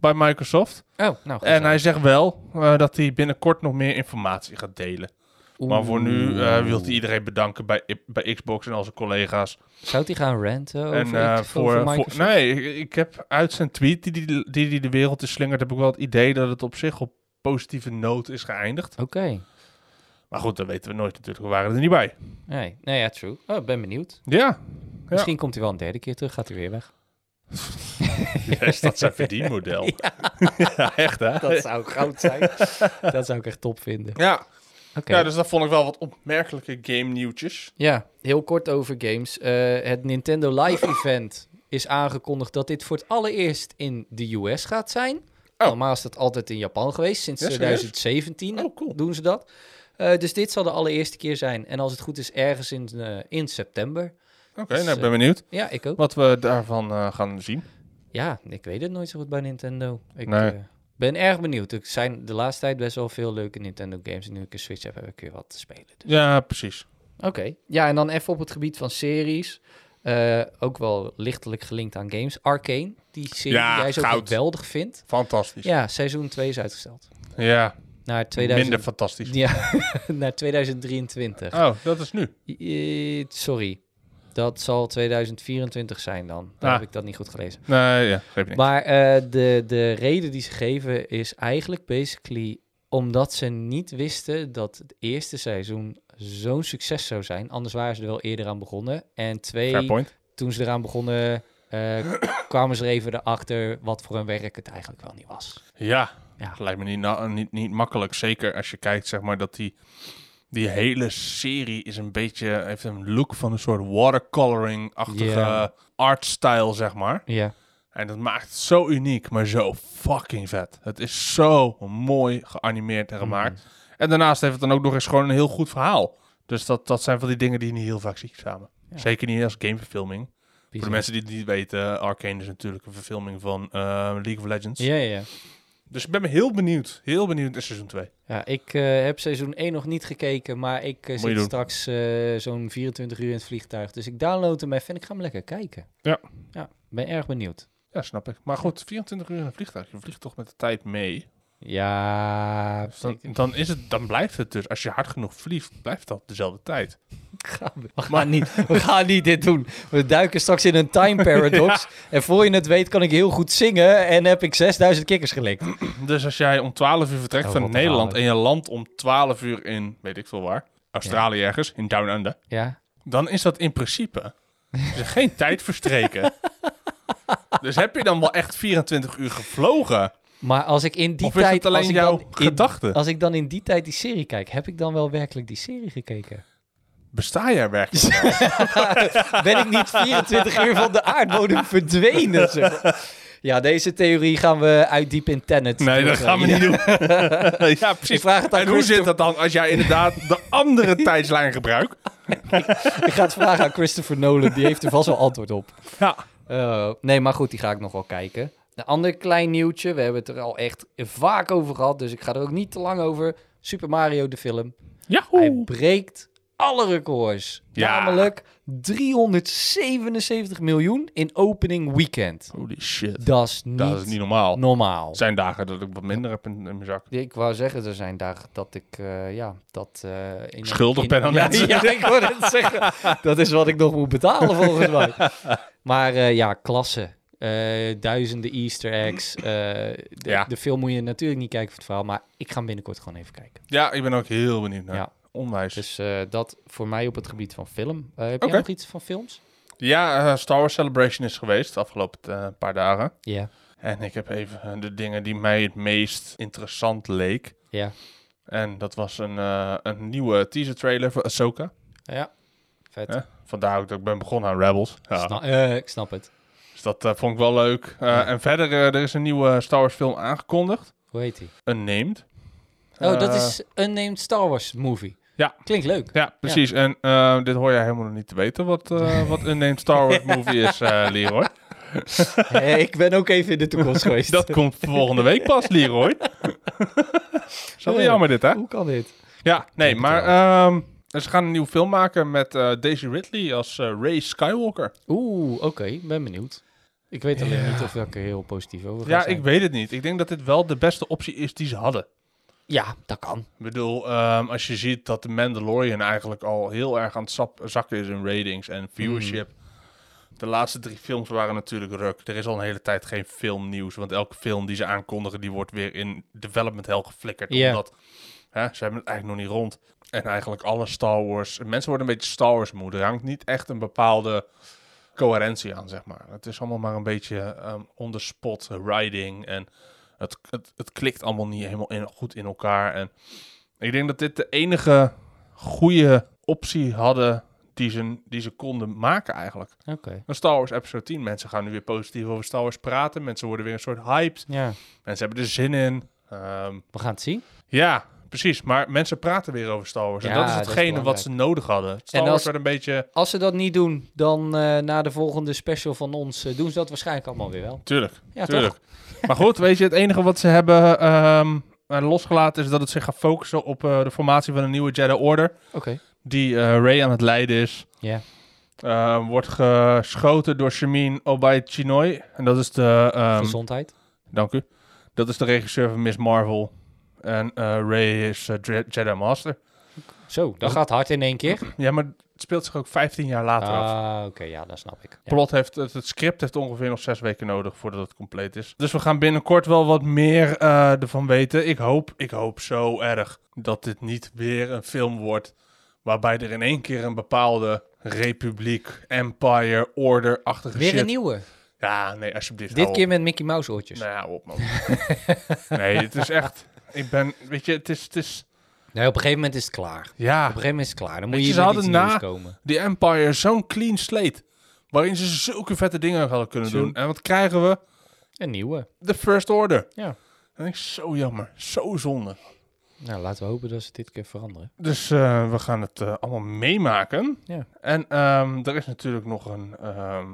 Speaker 2: bij Microsoft.
Speaker 1: Oh, nou.
Speaker 2: En hij zegt wel eh, dat hij binnenkort nog meer informatie gaat delen. Maar voor nu eh wil hij iedereen bedanken bij, bij Xbox en al zijn collega's.
Speaker 1: Zou hij gaan ranten over,
Speaker 2: en eh,
Speaker 1: X-
Speaker 2: voor,
Speaker 1: Oh, over
Speaker 2: voor-
Speaker 1: Microsoft?
Speaker 2: Nee, ik- ik heb uit zijn tweet die die, die die de wereld is slingerd... heb ik wel het idee dat het op zich op positieve noot is geëindigd.
Speaker 1: Oké.
Speaker 2: Maar goed, dat weten we nooit natuurlijk. We waren er niet bij.
Speaker 1: Nee, nee, ja, true. Oh, ik ben benieuwd.
Speaker 2: Ja,
Speaker 1: Misschien komt hij wel een derde keer terug, gaat hij weer weg.
Speaker 2: is dat zijn verdienmodel. ja. echt hè?
Speaker 1: zou goud zijn. dat zou ik echt top vinden.
Speaker 2: Ja.
Speaker 1: Oké.
Speaker 2: ja, dus dat vond ik wel wat opmerkelijke game nieuwtjes.
Speaker 1: Ja, heel kort over games. Eh, het Nintendo Live Event is aangekondigd dat dit voor het allereerst in de US gaat zijn. Normaal is dat altijd in Japan geweest. Sinds
Speaker 2: Oh. Ja, serieus?
Speaker 1: 2017
Speaker 2: Oh, cool.
Speaker 1: doen ze dat. Eh, dus dit zal de allereerste keer zijn. En als het goed is, ergens in, eh, in september.
Speaker 2: Oké,
Speaker 1: Dus,
Speaker 2: nou ik
Speaker 1: eh,
Speaker 2: ben benieuwd
Speaker 1: Ja, ik ook.
Speaker 2: wat we daarvan eh, gaan zien.
Speaker 1: Ja, ik weet het nooit zo goed bij Nintendo. Ik
Speaker 2: Nee.
Speaker 1: eh, ben erg benieuwd. Er zijn de laatste tijd best wel veel leuke Nintendo games. En nu ik een Switch heb, heb ik weer wat te spelen. Dus.
Speaker 2: Ja, precies.
Speaker 1: Oké. Ja, en dan even op het gebied van series. Eh, ook wel lichtelijk gelinkt aan games. Arcane, die serie
Speaker 2: Ja,
Speaker 1: die jij zo
Speaker 2: goud.
Speaker 1: geweldig vindt.
Speaker 2: Fantastisch. Ja,
Speaker 1: Ja, seizoen 2 is uitgesteld. Naar 2000...
Speaker 2: minder fantastisch.
Speaker 1: Ja, naar 2023.
Speaker 2: Oh, dat is nu.
Speaker 1: Eh, sorry. Dat zal 2024 zijn dan. Dan
Speaker 2: Ah.
Speaker 1: heb ik dat niet goed gelezen.
Speaker 2: Nee, ja, geef niet.
Speaker 1: Maar eh, de, de reden die ze geven is eigenlijk basically omdat ze niet wisten dat het eerste seizoen zo'n succes zou zijn. Anders waren ze er wel eerder aan begonnen. En
Speaker 2: Fair
Speaker 1: twee,
Speaker 2: point.
Speaker 1: toen ze eraan begonnen, eh, kwamen ze er even erachter wat voor hun werk het eigenlijk wel niet was.
Speaker 2: Ja,
Speaker 1: Ja.
Speaker 2: lijkt me niet, na- niet, niet makkelijk. Zeker als je kijkt, zeg maar, dat die, die hele serie is een beetje... heeft een look van een soort watercoloring-achtige
Speaker 1: Ja.
Speaker 2: artstyle, zeg maar.
Speaker 1: Ja,
Speaker 2: En dat maakt het
Speaker 1: Mm-hmm. Mhm.
Speaker 2: zo uniek, maar zo fucking vet. Het is zo mooi geanimeerd en gemaakt. En daarnaast heeft het dan ook nog eens gewoon een heel goed verhaal. Dus dat, dat zijn van die dingen die je niet heel vaak ziet samen.
Speaker 1: Ja.
Speaker 2: Zeker niet als gameverfilming. Voor
Speaker 1: Bizar.
Speaker 2: de mensen die het niet weten, Arcane is natuurlijk een verfilming van eh, League of Legends.
Speaker 1: Ja, ja, ja.
Speaker 2: Dus ik ben me heel benieuwd. Heel benieuwd naar seizoen 2.
Speaker 1: Ja, ik eh, heb seizoen 1 nog niet gekeken, maar ik eh,
Speaker 2: je
Speaker 1: zit
Speaker 2: doen.
Speaker 1: straks eh, zo'n 24 uur in het vliegtuig. Dus ik download hem even en ik ga hem lekker kijken.
Speaker 2: Ja.
Speaker 1: Ja, ben erg benieuwd.
Speaker 2: Ja, snap ik. Maar goed, 24 uur in een vliegtuig. Je vliegt toch met de tijd mee.
Speaker 1: Ja,
Speaker 2: Dus dan,
Speaker 1: ik
Speaker 2: dan, is het, dan blijft het dus. Als je hard genoeg vliegt, blijft dat dezelfde tijd.
Speaker 1: ga- we, gaan niet, we gaan niet dit doen. We duiken straks in een time paradox. En voor je het weet kan ik heel goed zingen en heb ik 6000 kikkers gelikt.
Speaker 2: Dus als jij om 12 uur vertrekt
Speaker 1: Oh,
Speaker 2: van
Speaker 1: wat een
Speaker 2: Nederland
Speaker 1: verhaal,
Speaker 2: en je landt om 12 uur in, weet ik veel waar, Australië ergens, in Down Under,
Speaker 1: Ja,
Speaker 2: dan is dat in principe is er geen tijd verstreken. Dus heb je dan wel echt 24 uur gevlogen?
Speaker 1: maar als ik in die
Speaker 2: of is
Speaker 1: tijd...
Speaker 2: het alleen
Speaker 1: als ik
Speaker 2: jouw
Speaker 1: dan in-
Speaker 2: gedachte?
Speaker 1: als ik dan in die tijd die serie kijk, heb ik dan wel werkelijk die serie gekeken?
Speaker 2: Besta jij werkelijk?
Speaker 1: ben ik niet 24 uur van de aardbodem verdwenen? zeg. Ja, deze theorie gaan we uitdiepen in Tenet.
Speaker 2: Nee, dat
Speaker 1: Dus, eh,
Speaker 2: gaan we
Speaker 1: ja.
Speaker 2: niet doen. ja,
Speaker 1: Ik
Speaker 2: precies.
Speaker 1: vraag het aan
Speaker 2: En hoe zit
Speaker 1: Christopher-
Speaker 2: dat dan als jij inderdaad de andere tijdslijn gebruikt?
Speaker 1: Ik ga het vragen aan Christopher Nolan, die heeft er vast wel antwoord op.
Speaker 2: Ja.
Speaker 1: Eh, nee, maar goed, die ga ik nog wel kijken. Een ander klein nieuwtje, we hebben het er al echt vaak over gehad, dus ik ga er ook niet te lang over. Super Mario, de film. Hij breekt alle records.
Speaker 2: Ja.
Speaker 1: Namelijk 377 miljoen in opening weekend.
Speaker 2: Holy shit.
Speaker 1: Dat is niet,
Speaker 2: Dat is niet normaal.
Speaker 1: normaal.
Speaker 2: Er zijn dagen dat ik wat minder heb in, in mijn zak.
Speaker 1: Ik wou zeggen, er zijn dagen dat ik, eh, ja, dat... eh, in-
Speaker 2: Schuldig ben aan
Speaker 1: ja,
Speaker 2: mensen.
Speaker 1: Ja, ik hoor het zeggen. Dat is wat ik nog moet betalen volgens mij. Maar eh, ja, klasse. Eh, duizenden easter eggs. Eh, de,
Speaker 2: Ja.
Speaker 1: de film moet je natuurlijk niet kijken voor het verhaal, maar ik ga hem binnenkort gewoon even kijken.
Speaker 2: Ja, ik ben ook heel benieuwd naar.
Speaker 1: Ja.
Speaker 2: Onwijs.
Speaker 1: Dus eh, dat voor mij op het gebied van film. Eh, heb
Speaker 2: Oké.
Speaker 1: jij nog iets van films?
Speaker 2: Ja, eh, Star Wars Celebration is geweest de afgelopen eh, paar dagen.
Speaker 1: Ja.
Speaker 2: En ik heb even eh, de dingen die mij het meest interessant leek.
Speaker 1: Ja.
Speaker 2: En dat was een, eh, een nieuwe teaser trailer voor Ahsoka.
Speaker 1: Ja. Vet.
Speaker 2: Ja. Vandaar ook dat ik ben begonnen aan Rebels. Ja.
Speaker 1: Sna- eh, ik snap het.
Speaker 2: Dus dat eh, vond ik wel leuk. Eh,
Speaker 1: Ja.
Speaker 2: En verder, eh, er is een nieuwe Star Wars film aangekondigd.
Speaker 1: Hoe heet hij?
Speaker 2: Unnamed.
Speaker 1: Oh, dat
Speaker 2: Eh,
Speaker 1: is Unnamed Star Wars movie.
Speaker 2: Ja.
Speaker 1: Klinkt leuk.
Speaker 2: Ja, precies. En eh, dit hoor jij helemaal nog niet te weten, wat, eh wat Unnamed Star Wars movie is, eh, Leroy.
Speaker 1: Hey, ik ben ook even in de toekomst geweest.
Speaker 2: Dat komt volgende week pas, Leroy. Zo wel
Speaker 1: Ja.
Speaker 2: jammer dit, hè?
Speaker 1: Hoe kan dit?
Speaker 2: Ja, nee,
Speaker 1: denk het
Speaker 2: maar
Speaker 1: eh.
Speaker 2: ehm, ze gaan een nieuwe film maken met eh, Daisy Ridley als eh, Ray Skywalker.
Speaker 1: Oeh, oké, ben benieuwd. Ik weet alleen
Speaker 2: Ja.
Speaker 1: niet of ik er heel positief over ga
Speaker 2: Ja,
Speaker 1: zijn.
Speaker 2: ik weet het niet. Ik denk dat dit wel de beste optie is die ze hadden.
Speaker 1: Ja, dat kan.
Speaker 2: Ik bedoel, ehm, als je ziet dat de Mandalorian eigenlijk al heel erg aan het sap- zakken is in ratings en viewership. De laatste drie films waren natuurlijk ruk. Er is al een hele tijd geen filmnieuws, want elke film die ze aankondigen, die wordt weer in development hell geflikkerd.
Speaker 1: Ja.
Speaker 2: Omdat hè, ze hebben het eigenlijk nog niet rond. En eigenlijk alle Star Wars, mensen worden een beetje Star Wars moe. Er hangt niet echt een bepaalde coherentie aan, zeg maar. Het is allemaal maar een beetje ehm on the spot riding en het, het, het klikt allemaal niet helemaal in, goed in elkaar. En ik denk dat dit de enige goede optie hadden die ze, die ze konden maken eigenlijk.
Speaker 1: Oké.
Speaker 2: Een Star Wars Episode 10. Mensen gaan nu weer positief over Star Wars praten. Mensen worden weer een soort hyped.
Speaker 1: Ja,
Speaker 2: Mensen hebben er zin in. Ehm,
Speaker 1: we gaan het zien.
Speaker 2: ja, precies. Maar mensen praten weer over Star Wars. en
Speaker 1: Ja,
Speaker 2: dat is
Speaker 1: dat is
Speaker 2: hetgene wat ze nodig hadden. Star
Speaker 1: En
Speaker 2: Wars
Speaker 1: als-
Speaker 2: werd een beetje...
Speaker 1: Als ze dat niet doen, dan eh, na de volgende special van ons eh, doen ze dat waarschijnlijk allemaal weer wel.
Speaker 2: Tuurlijk,
Speaker 1: Ja,
Speaker 2: tuurlijk. Maar goed, weet je, het enige wat ze hebben ehm, eh, losgelaten... is dat het zich gaat focussen op eh, de formatie van een nieuwe Jedi Order...
Speaker 1: Oké.
Speaker 2: die eh Ray aan het leiden is...
Speaker 1: Ja.
Speaker 2: Eh, wordt geschoten door Shamin Obai Chinoy. En dat is de. ehm,
Speaker 1: Gezondheid.
Speaker 2: dank u. Dat is de regisseur van Miss Marvel. En eh, Ray is eh, Dre- Jedi Master.
Speaker 1: Zo, dat gaat hard in één keer.
Speaker 2: Ja, maar het speelt zich ook 15 jaar later af.
Speaker 1: Ah, oké, ja, dat snap ik. Ja.
Speaker 2: Plot heeft, het, het script heeft ongeveer nog zes weken nodig voordat het compleet is. Dus we gaan binnenkort wel wat meer eh, ervan weten. Ik hoop, ik hoop zo erg dat dit niet weer een film wordt waarbij er in één keer een bepaalde republiek, empire, order-achtige
Speaker 1: Weer
Speaker 2: shit Nou.
Speaker 1: een nieuwe.
Speaker 2: Ja, nee, alsjeblieft.
Speaker 1: Dit
Speaker 2: hou
Speaker 1: keer
Speaker 2: op.
Speaker 1: met Mickey Mouse oortjes.
Speaker 2: Nou, hou op, man. nee, het is echt... Ik ben... Weet je, het is... Het is
Speaker 1: Nee, op een gegeven moment is het klaar. Op
Speaker 2: ja,
Speaker 1: een gegeven moment is het klaar. Dan
Speaker 2: Weet
Speaker 1: moet
Speaker 2: je,
Speaker 1: je
Speaker 2: ze
Speaker 1: met
Speaker 2: hadden
Speaker 1: iets
Speaker 2: na-
Speaker 1: nieuws komen.
Speaker 2: die Empire is zo'n clean slate. Waarin ze zulke vette dingen hadden kunnen
Speaker 1: Zo.
Speaker 2: doen. En wat krijgen we?
Speaker 1: Een nieuwe.
Speaker 2: The First Order.
Speaker 1: Ja.
Speaker 2: En ik, zo jammer. Zo zonde.
Speaker 1: Nou, laten we hopen dat ze dit keer veranderen.
Speaker 2: Dus eh, we gaan het eh, allemaal meemaken.
Speaker 1: Ja.
Speaker 2: En ehm, er is natuurlijk nog een, ehm,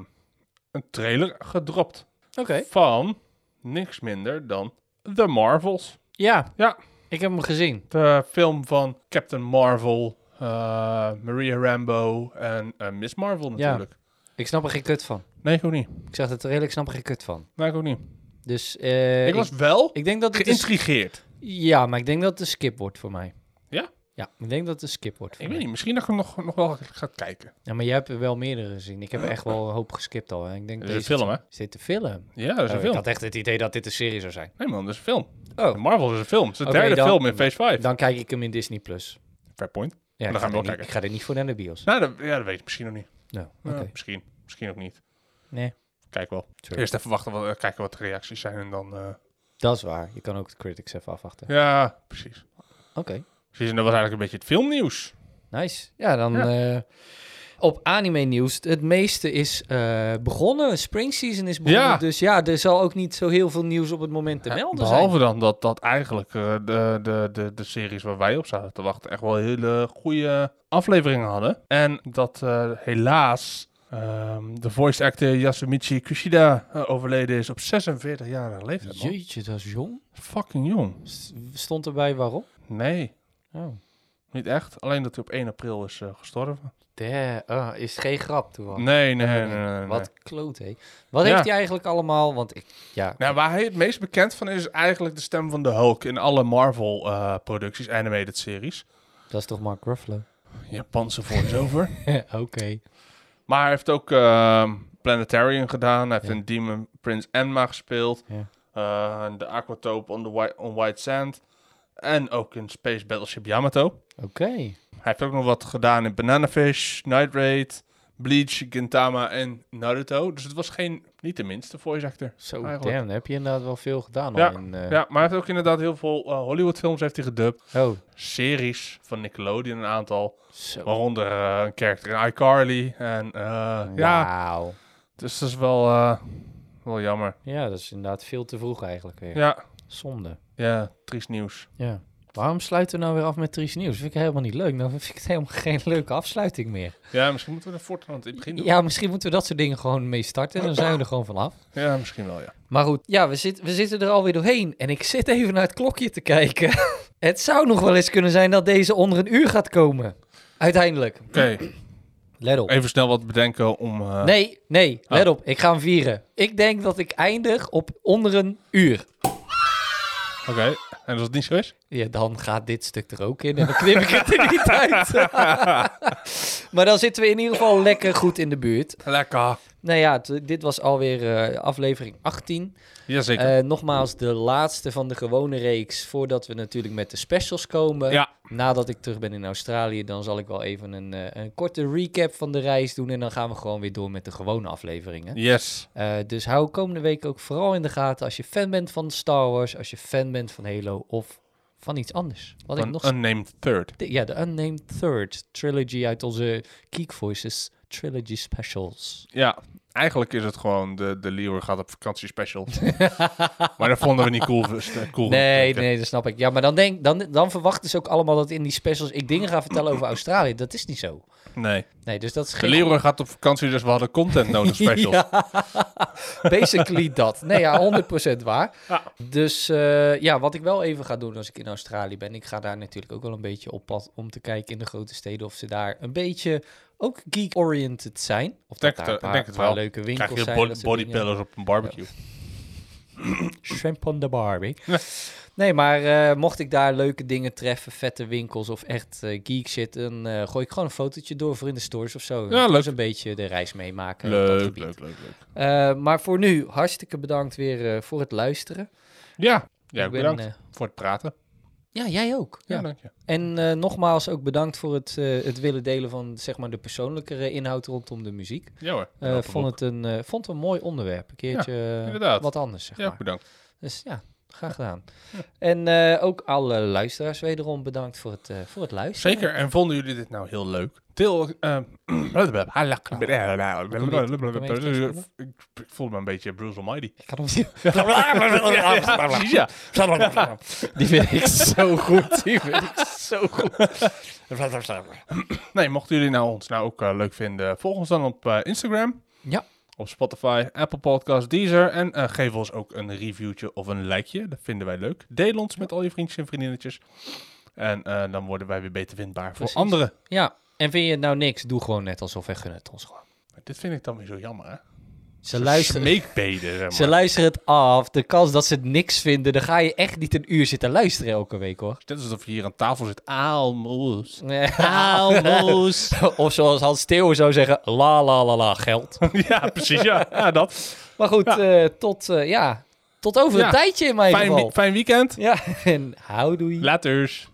Speaker 2: een trailer gedropt
Speaker 1: Oké.
Speaker 2: van niks minder dan The Marvels.
Speaker 1: Ja.
Speaker 2: Ja.
Speaker 1: Ik heb hem gezien.
Speaker 2: De film van Captain Marvel, eh, Maria Rambo en eh, Miss Marvel natuurlijk.
Speaker 1: Ik snap er geen kut van.
Speaker 2: Nee, ik ook niet.
Speaker 1: Ik zeg het redelijk, ik snap er geen kut van.
Speaker 2: Nee, ik ook niet.
Speaker 1: Dus eh,
Speaker 2: ik was wel
Speaker 1: ik, ik denk dat het een-
Speaker 2: geïntrigeerd.
Speaker 1: Ja, maar ik denk dat het een skip wordt voor mij.
Speaker 2: Ja?
Speaker 1: Ja, ik denk dat het een skip wordt voor
Speaker 2: Ik
Speaker 1: mij.
Speaker 2: weet niet, misschien dat ik hem nog, nog wel ga kijken.
Speaker 1: Ja, maar jij hebt er wel meerdere gezien. Ik heb er echt wel een hoop geskipt al. Hè. Ik denk
Speaker 2: Dat is
Speaker 1: deze
Speaker 2: een film, hè?
Speaker 1: Is dit de film?
Speaker 2: Ja, dat is een
Speaker 1: Oh, ik
Speaker 2: film.
Speaker 1: had echt het idee dat dit een serie zou zijn.
Speaker 2: Nee man, dat is een film.
Speaker 1: Oh.
Speaker 2: Marvel is een film. Het is de
Speaker 1: Oké,
Speaker 2: derde
Speaker 1: dan-
Speaker 2: film in Phase 5.
Speaker 1: Dan kijk ik hem in Disney+. Plus.
Speaker 2: Fair point.
Speaker 1: Ja,
Speaker 2: Dan
Speaker 1: ik
Speaker 2: gaan we
Speaker 1: ga,
Speaker 2: wel
Speaker 1: er niet,
Speaker 2: kijken.
Speaker 1: ik ga er niet voor naar de bios.
Speaker 2: Nou, dat, ja, dat weet ik misschien nog niet.
Speaker 1: Nou,
Speaker 2: Nou,
Speaker 1: oké.
Speaker 2: misschien. Misschien ook niet.
Speaker 1: Nee.
Speaker 2: Kijk wel.
Speaker 1: Sorry.
Speaker 2: Eerst even wachten, wat, eh, kijken wat de reacties zijn en dan... eh,
Speaker 1: Dat is waar. Je kan ook de critics even afwachten.
Speaker 2: ja, precies.
Speaker 1: Oké,
Speaker 2: Precies, en dat was eigenlijk een beetje het filmnieuws.
Speaker 1: nice. Ja, dan eh, op anime nieuws. Het meeste is eh, begonnen. Spring season is begonnen.
Speaker 2: Ja.
Speaker 1: Dus ja, er zal ook niet zo heel veel nieuws op het moment te melden
Speaker 2: Behalve
Speaker 1: zijn.
Speaker 2: dan dat, dat eigenlijk eh, de, de, de, de series waar wij op zaten te wachten echt wel hele goede afleveringen hadden. En dat eh, helaas ehm, de voice actor Yasumichi Kushida eh, overleden is op 46-jarige leeftijd. Man.
Speaker 1: Jeetje, dat is jong.
Speaker 2: Fucking jong.
Speaker 1: S- Stond erbij waarom?
Speaker 2: Nee,
Speaker 1: Oh.
Speaker 2: niet echt. Alleen dat hij op 1 april is eh, gestorven.
Speaker 1: De, ah, is geen grap, toevallig.
Speaker 2: Nee, nee, nee. nee, nee, nee.
Speaker 1: Wat kloot, hé. Wat
Speaker 2: Ja.
Speaker 1: heeft hij eigenlijk allemaal? Want ik, ja,
Speaker 2: Nou, waar hij het meest bekend van is, is eigenlijk de stem van de Hulk in alle Marvel-producties, animated series.
Speaker 1: dat is toch Mark Ruffalo?
Speaker 2: Japanse voice-over.
Speaker 1: Oké.
Speaker 2: Maar hij heeft ook ehm, Planetarium gedaan. Hij heeft
Speaker 1: Ja.
Speaker 2: een Demon Prince Enma gespeeld.
Speaker 1: Ja.
Speaker 2: Eh, de Aquatope on, the White, on White Sand. En ook in Space Battleship Yamato.
Speaker 1: Oké.
Speaker 2: Hij heeft ook nog wat gedaan in Bananafish, Night Raid, Bleach, Gintama en Naruto. Dus het was geen, niet de minste voice actor.
Speaker 1: Zo,
Speaker 2: Eigenlijk.
Speaker 1: damn, dan heb je inderdaad wel veel gedaan. al
Speaker 2: Ja,
Speaker 1: in, eh,
Speaker 2: Ja, maar hij heeft ook inderdaad heel veel eh, Hollywood-films heeft hij gedubt.
Speaker 1: Oh,
Speaker 2: Series van Nickelodeon een aantal.
Speaker 1: zo.
Speaker 2: Waaronder eh, een character in iCarly. En eh, ja,
Speaker 1: Wauw.
Speaker 2: dus dat is wel, eh, wel jammer.
Speaker 1: Ja, dat is inderdaad veel te vroeg eigenlijk weer.
Speaker 2: Ja,
Speaker 1: Zonde.
Speaker 2: ja, triest nieuws.
Speaker 1: Ja. Waarom sluiten we nou weer af met triest nieuws? vind ik helemaal niet leuk. Nou vind ik het helemaal geen leuke afsluiting meer.
Speaker 2: Ja, misschien moeten we er voortaan aan het begin doen. Ja,
Speaker 1: Ja, misschien moeten we dat soort dingen gewoon mee starten. Dan zijn we er gewoon vanaf.
Speaker 2: misschien wel, ja.
Speaker 1: Maar goed, ja, we, zit, we zitten er alweer doorheen. En ik zit even naar het klokje te kijken. het zou nog wel eens kunnen zijn dat deze onder een uur gaat komen. Uiteindelijk.
Speaker 2: Oké,
Speaker 1: Let op.
Speaker 2: even snel wat bedenken om... eh,
Speaker 1: Nee, nee, let
Speaker 2: Oh.
Speaker 1: op. Ik ga hem vieren. Ik denk dat ik eindig op onder een uur.
Speaker 2: Oké, en als het niet zo is?
Speaker 1: Ja, dan gaat dit stuk er ook in en dan knip ik het er niet uit. maar dan zitten we in ieder geval lekker goed in de buurt.
Speaker 2: Lekker.
Speaker 1: Nou ja, t- dit was alweer eh, aflevering 18.
Speaker 2: Jazeker.
Speaker 1: Eh, nogmaals, de laatste van de gewone reeks. Voordat we natuurlijk met de specials komen.
Speaker 2: Ja.
Speaker 1: Nadat ik terug ben in Australië, dan zal ik wel even een, eh, een korte recap van de reis doen. En dan gaan we gewoon weer door met de gewone afleveringen.
Speaker 2: yes.
Speaker 1: Eh, dus hou komende week ook vooral in de gaten als je fan bent van Star Wars, als je fan bent van Halo of van iets anders. Wat ik
Speaker 2: Een
Speaker 1: nog
Speaker 2: unnamed third.
Speaker 1: de- ja, de Unnamed Third Trilogy uit onze Geek Voices Trilogy Specials.
Speaker 2: Ja, eigenlijk is het gewoon de, de Leeuwer gaat op vakantie special. maar dat vonden we niet cool. dus, eh, cool
Speaker 1: Nee,
Speaker 2: Ik, eh,
Speaker 1: nee, dat snap ik. Ja, maar dan, denk, dan, dan verwachten ze ook allemaal dat in die specials ik dingen ga vertellen over Australië. Dat is niet zo.
Speaker 2: nee.
Speaker 1: Nee, dus dat is
Speaker 2: De
Speaker 1: geen...
Speaker 2: Leeuwer gaat op vakantie, dus we hadden content nodig specials.
Speaker 1: Ja, basically dat. Nee, ja, 100% waar.
Speaker 2: Ja.
Speaker 1: Dus eh, ja, wat ik wel even ga doen als ik in Australië ben, ik ga daar natuurlijk ook wel een beetje op pad om te kijken in de grote steden of ze daar een beetje ook geek-oriented zijn. Of
Speaker 2: Denk
Speaker 1: dat
Speaker 2: het,
Speaker 1: daar een
Speaker 2: eh,
Speaker 1: paar,
Speaker 2: denk het
Speaker 1: paar
Speaker 2: wel.
Speaker 1: leuke winkels
Speaker 2: Krijg je
Speaker 1: zijn. dat
Speaker 2: bod
Speaker 1: soort
Speaker 2: body
Speaker 1: dingen.
Speaker 2: pillows op een barbecue.
Speaker 1: Shrimp on the Barbie. Nee, maar eh, mocht ik daar leuke dingen treffen, vette winkels of echt eh, geek shit, dan eh, gooi ik gewoon een fotootje door voor in de stores of zo.
Speaker 2: Ja, leuk.
Speaker 1: Dus een beetje de reis meemaken. op dat
Speaker 2: Leuk,
Speaker 1: gebied.
Speaker 2: leuk, leuk, leuk.
Speaker 1: Eh, maar voor nu, hartstikke bedankt weer eh, voor het luisteren.
Speaker 2: Ja, jij
Speaker 1: Ik
Speaker 2: ook
Speaker 1: ben,
Speaker 2: bedankt
Speaker 1: eh,
Speaker 2: voor het praten.
Speaker 1: ja, jij ook.
Speaker 2: Ja,
Speaker 1: Ja.
Speaker 2: dank je.
Speaker 1: En eh, nogmaals ook bedankt voor het, eh, het willen delen van zeg maar, de persoonlijkere inhoud rondom de muziek.
Speaker 2: Ja hoor.
Speaker 1: Eh,
Speaker 2: Helpen we
Speaker 1: vond
Speaker 2: ook.
Speaker 1: het een, eh, vond het een mooi onderwerp. Een keertje eh,
Speaker 2: inderdaad.
Speaker 1: wat anders, zeg
Speaker 2: Ja,
Speaker 1: maar.
Speaker 2: bedankt.
Speaker 1: Dus ja, graag gedaan. En eh, ook alle luisteraars wederom bedankt voor het, eh, voor het luisteren.
Speaker 2: Zeker. En vonden jullie dit nou heel leuk? Til... eh, Ik ik voelde me een beetje Bruce Almighty.
Speaker 1: Ik ga nog Die vind ik zo goed. Die vind ik zo goed.
Speaker 2: Nee, mochten jullie nou ons nou ook eh, leuk vinden, volg ons dan op eh, Instagram.
Speaker 1: Ja.
Speaker 2: Op Spotify, Apple Podcasts, Deezer. En eh, geef ons ook een reviewtje of een likeje. Dat vinden wij leuk. Deel ons met al je vriendjes en vriendinnetjes. En eh, dan worden wij weer beter vindbaar
Speaker 1: Precies.
Speaker 2: voor anderen.
Speaker 1: Ja, en vind je het nou niks? Doe gewoon net alsof wij gunnen het ons gewoon.
Speaker 2: Maar dit vind ik dan weer zo jammer, hè?
Speaker 1: Ze luisteren,
Speaker 2: Smeekbeden, zeg maar.
Speaker 1: ze luisteren het af. De kans dat ze het niks vinden, dan ga je echt niet een uur zitten luisteren elke week hoor.
Speaker 2: Net alsof je hier aan tafel zit. Aalmoes.
Speaker 1: Aalmoes. of zoals Hans Theo zou zeggen, la la la la, geld.
Speaker 2: ja, precies. Ja, ja dat.
Speaker 1: Maar goed,
Speaker 2: Ja.
Speaker 1: eh, tot, eh, ja, tot over
Speaker 2: Ja.
Speaker 1: een tijdje in mijn
Speaker 2: Fijn,
Speaker 1: geval.
Speaker 2: we- fijn weekend.
Speaker 1: Ja, en hou doei.
Speaker 2: Laters.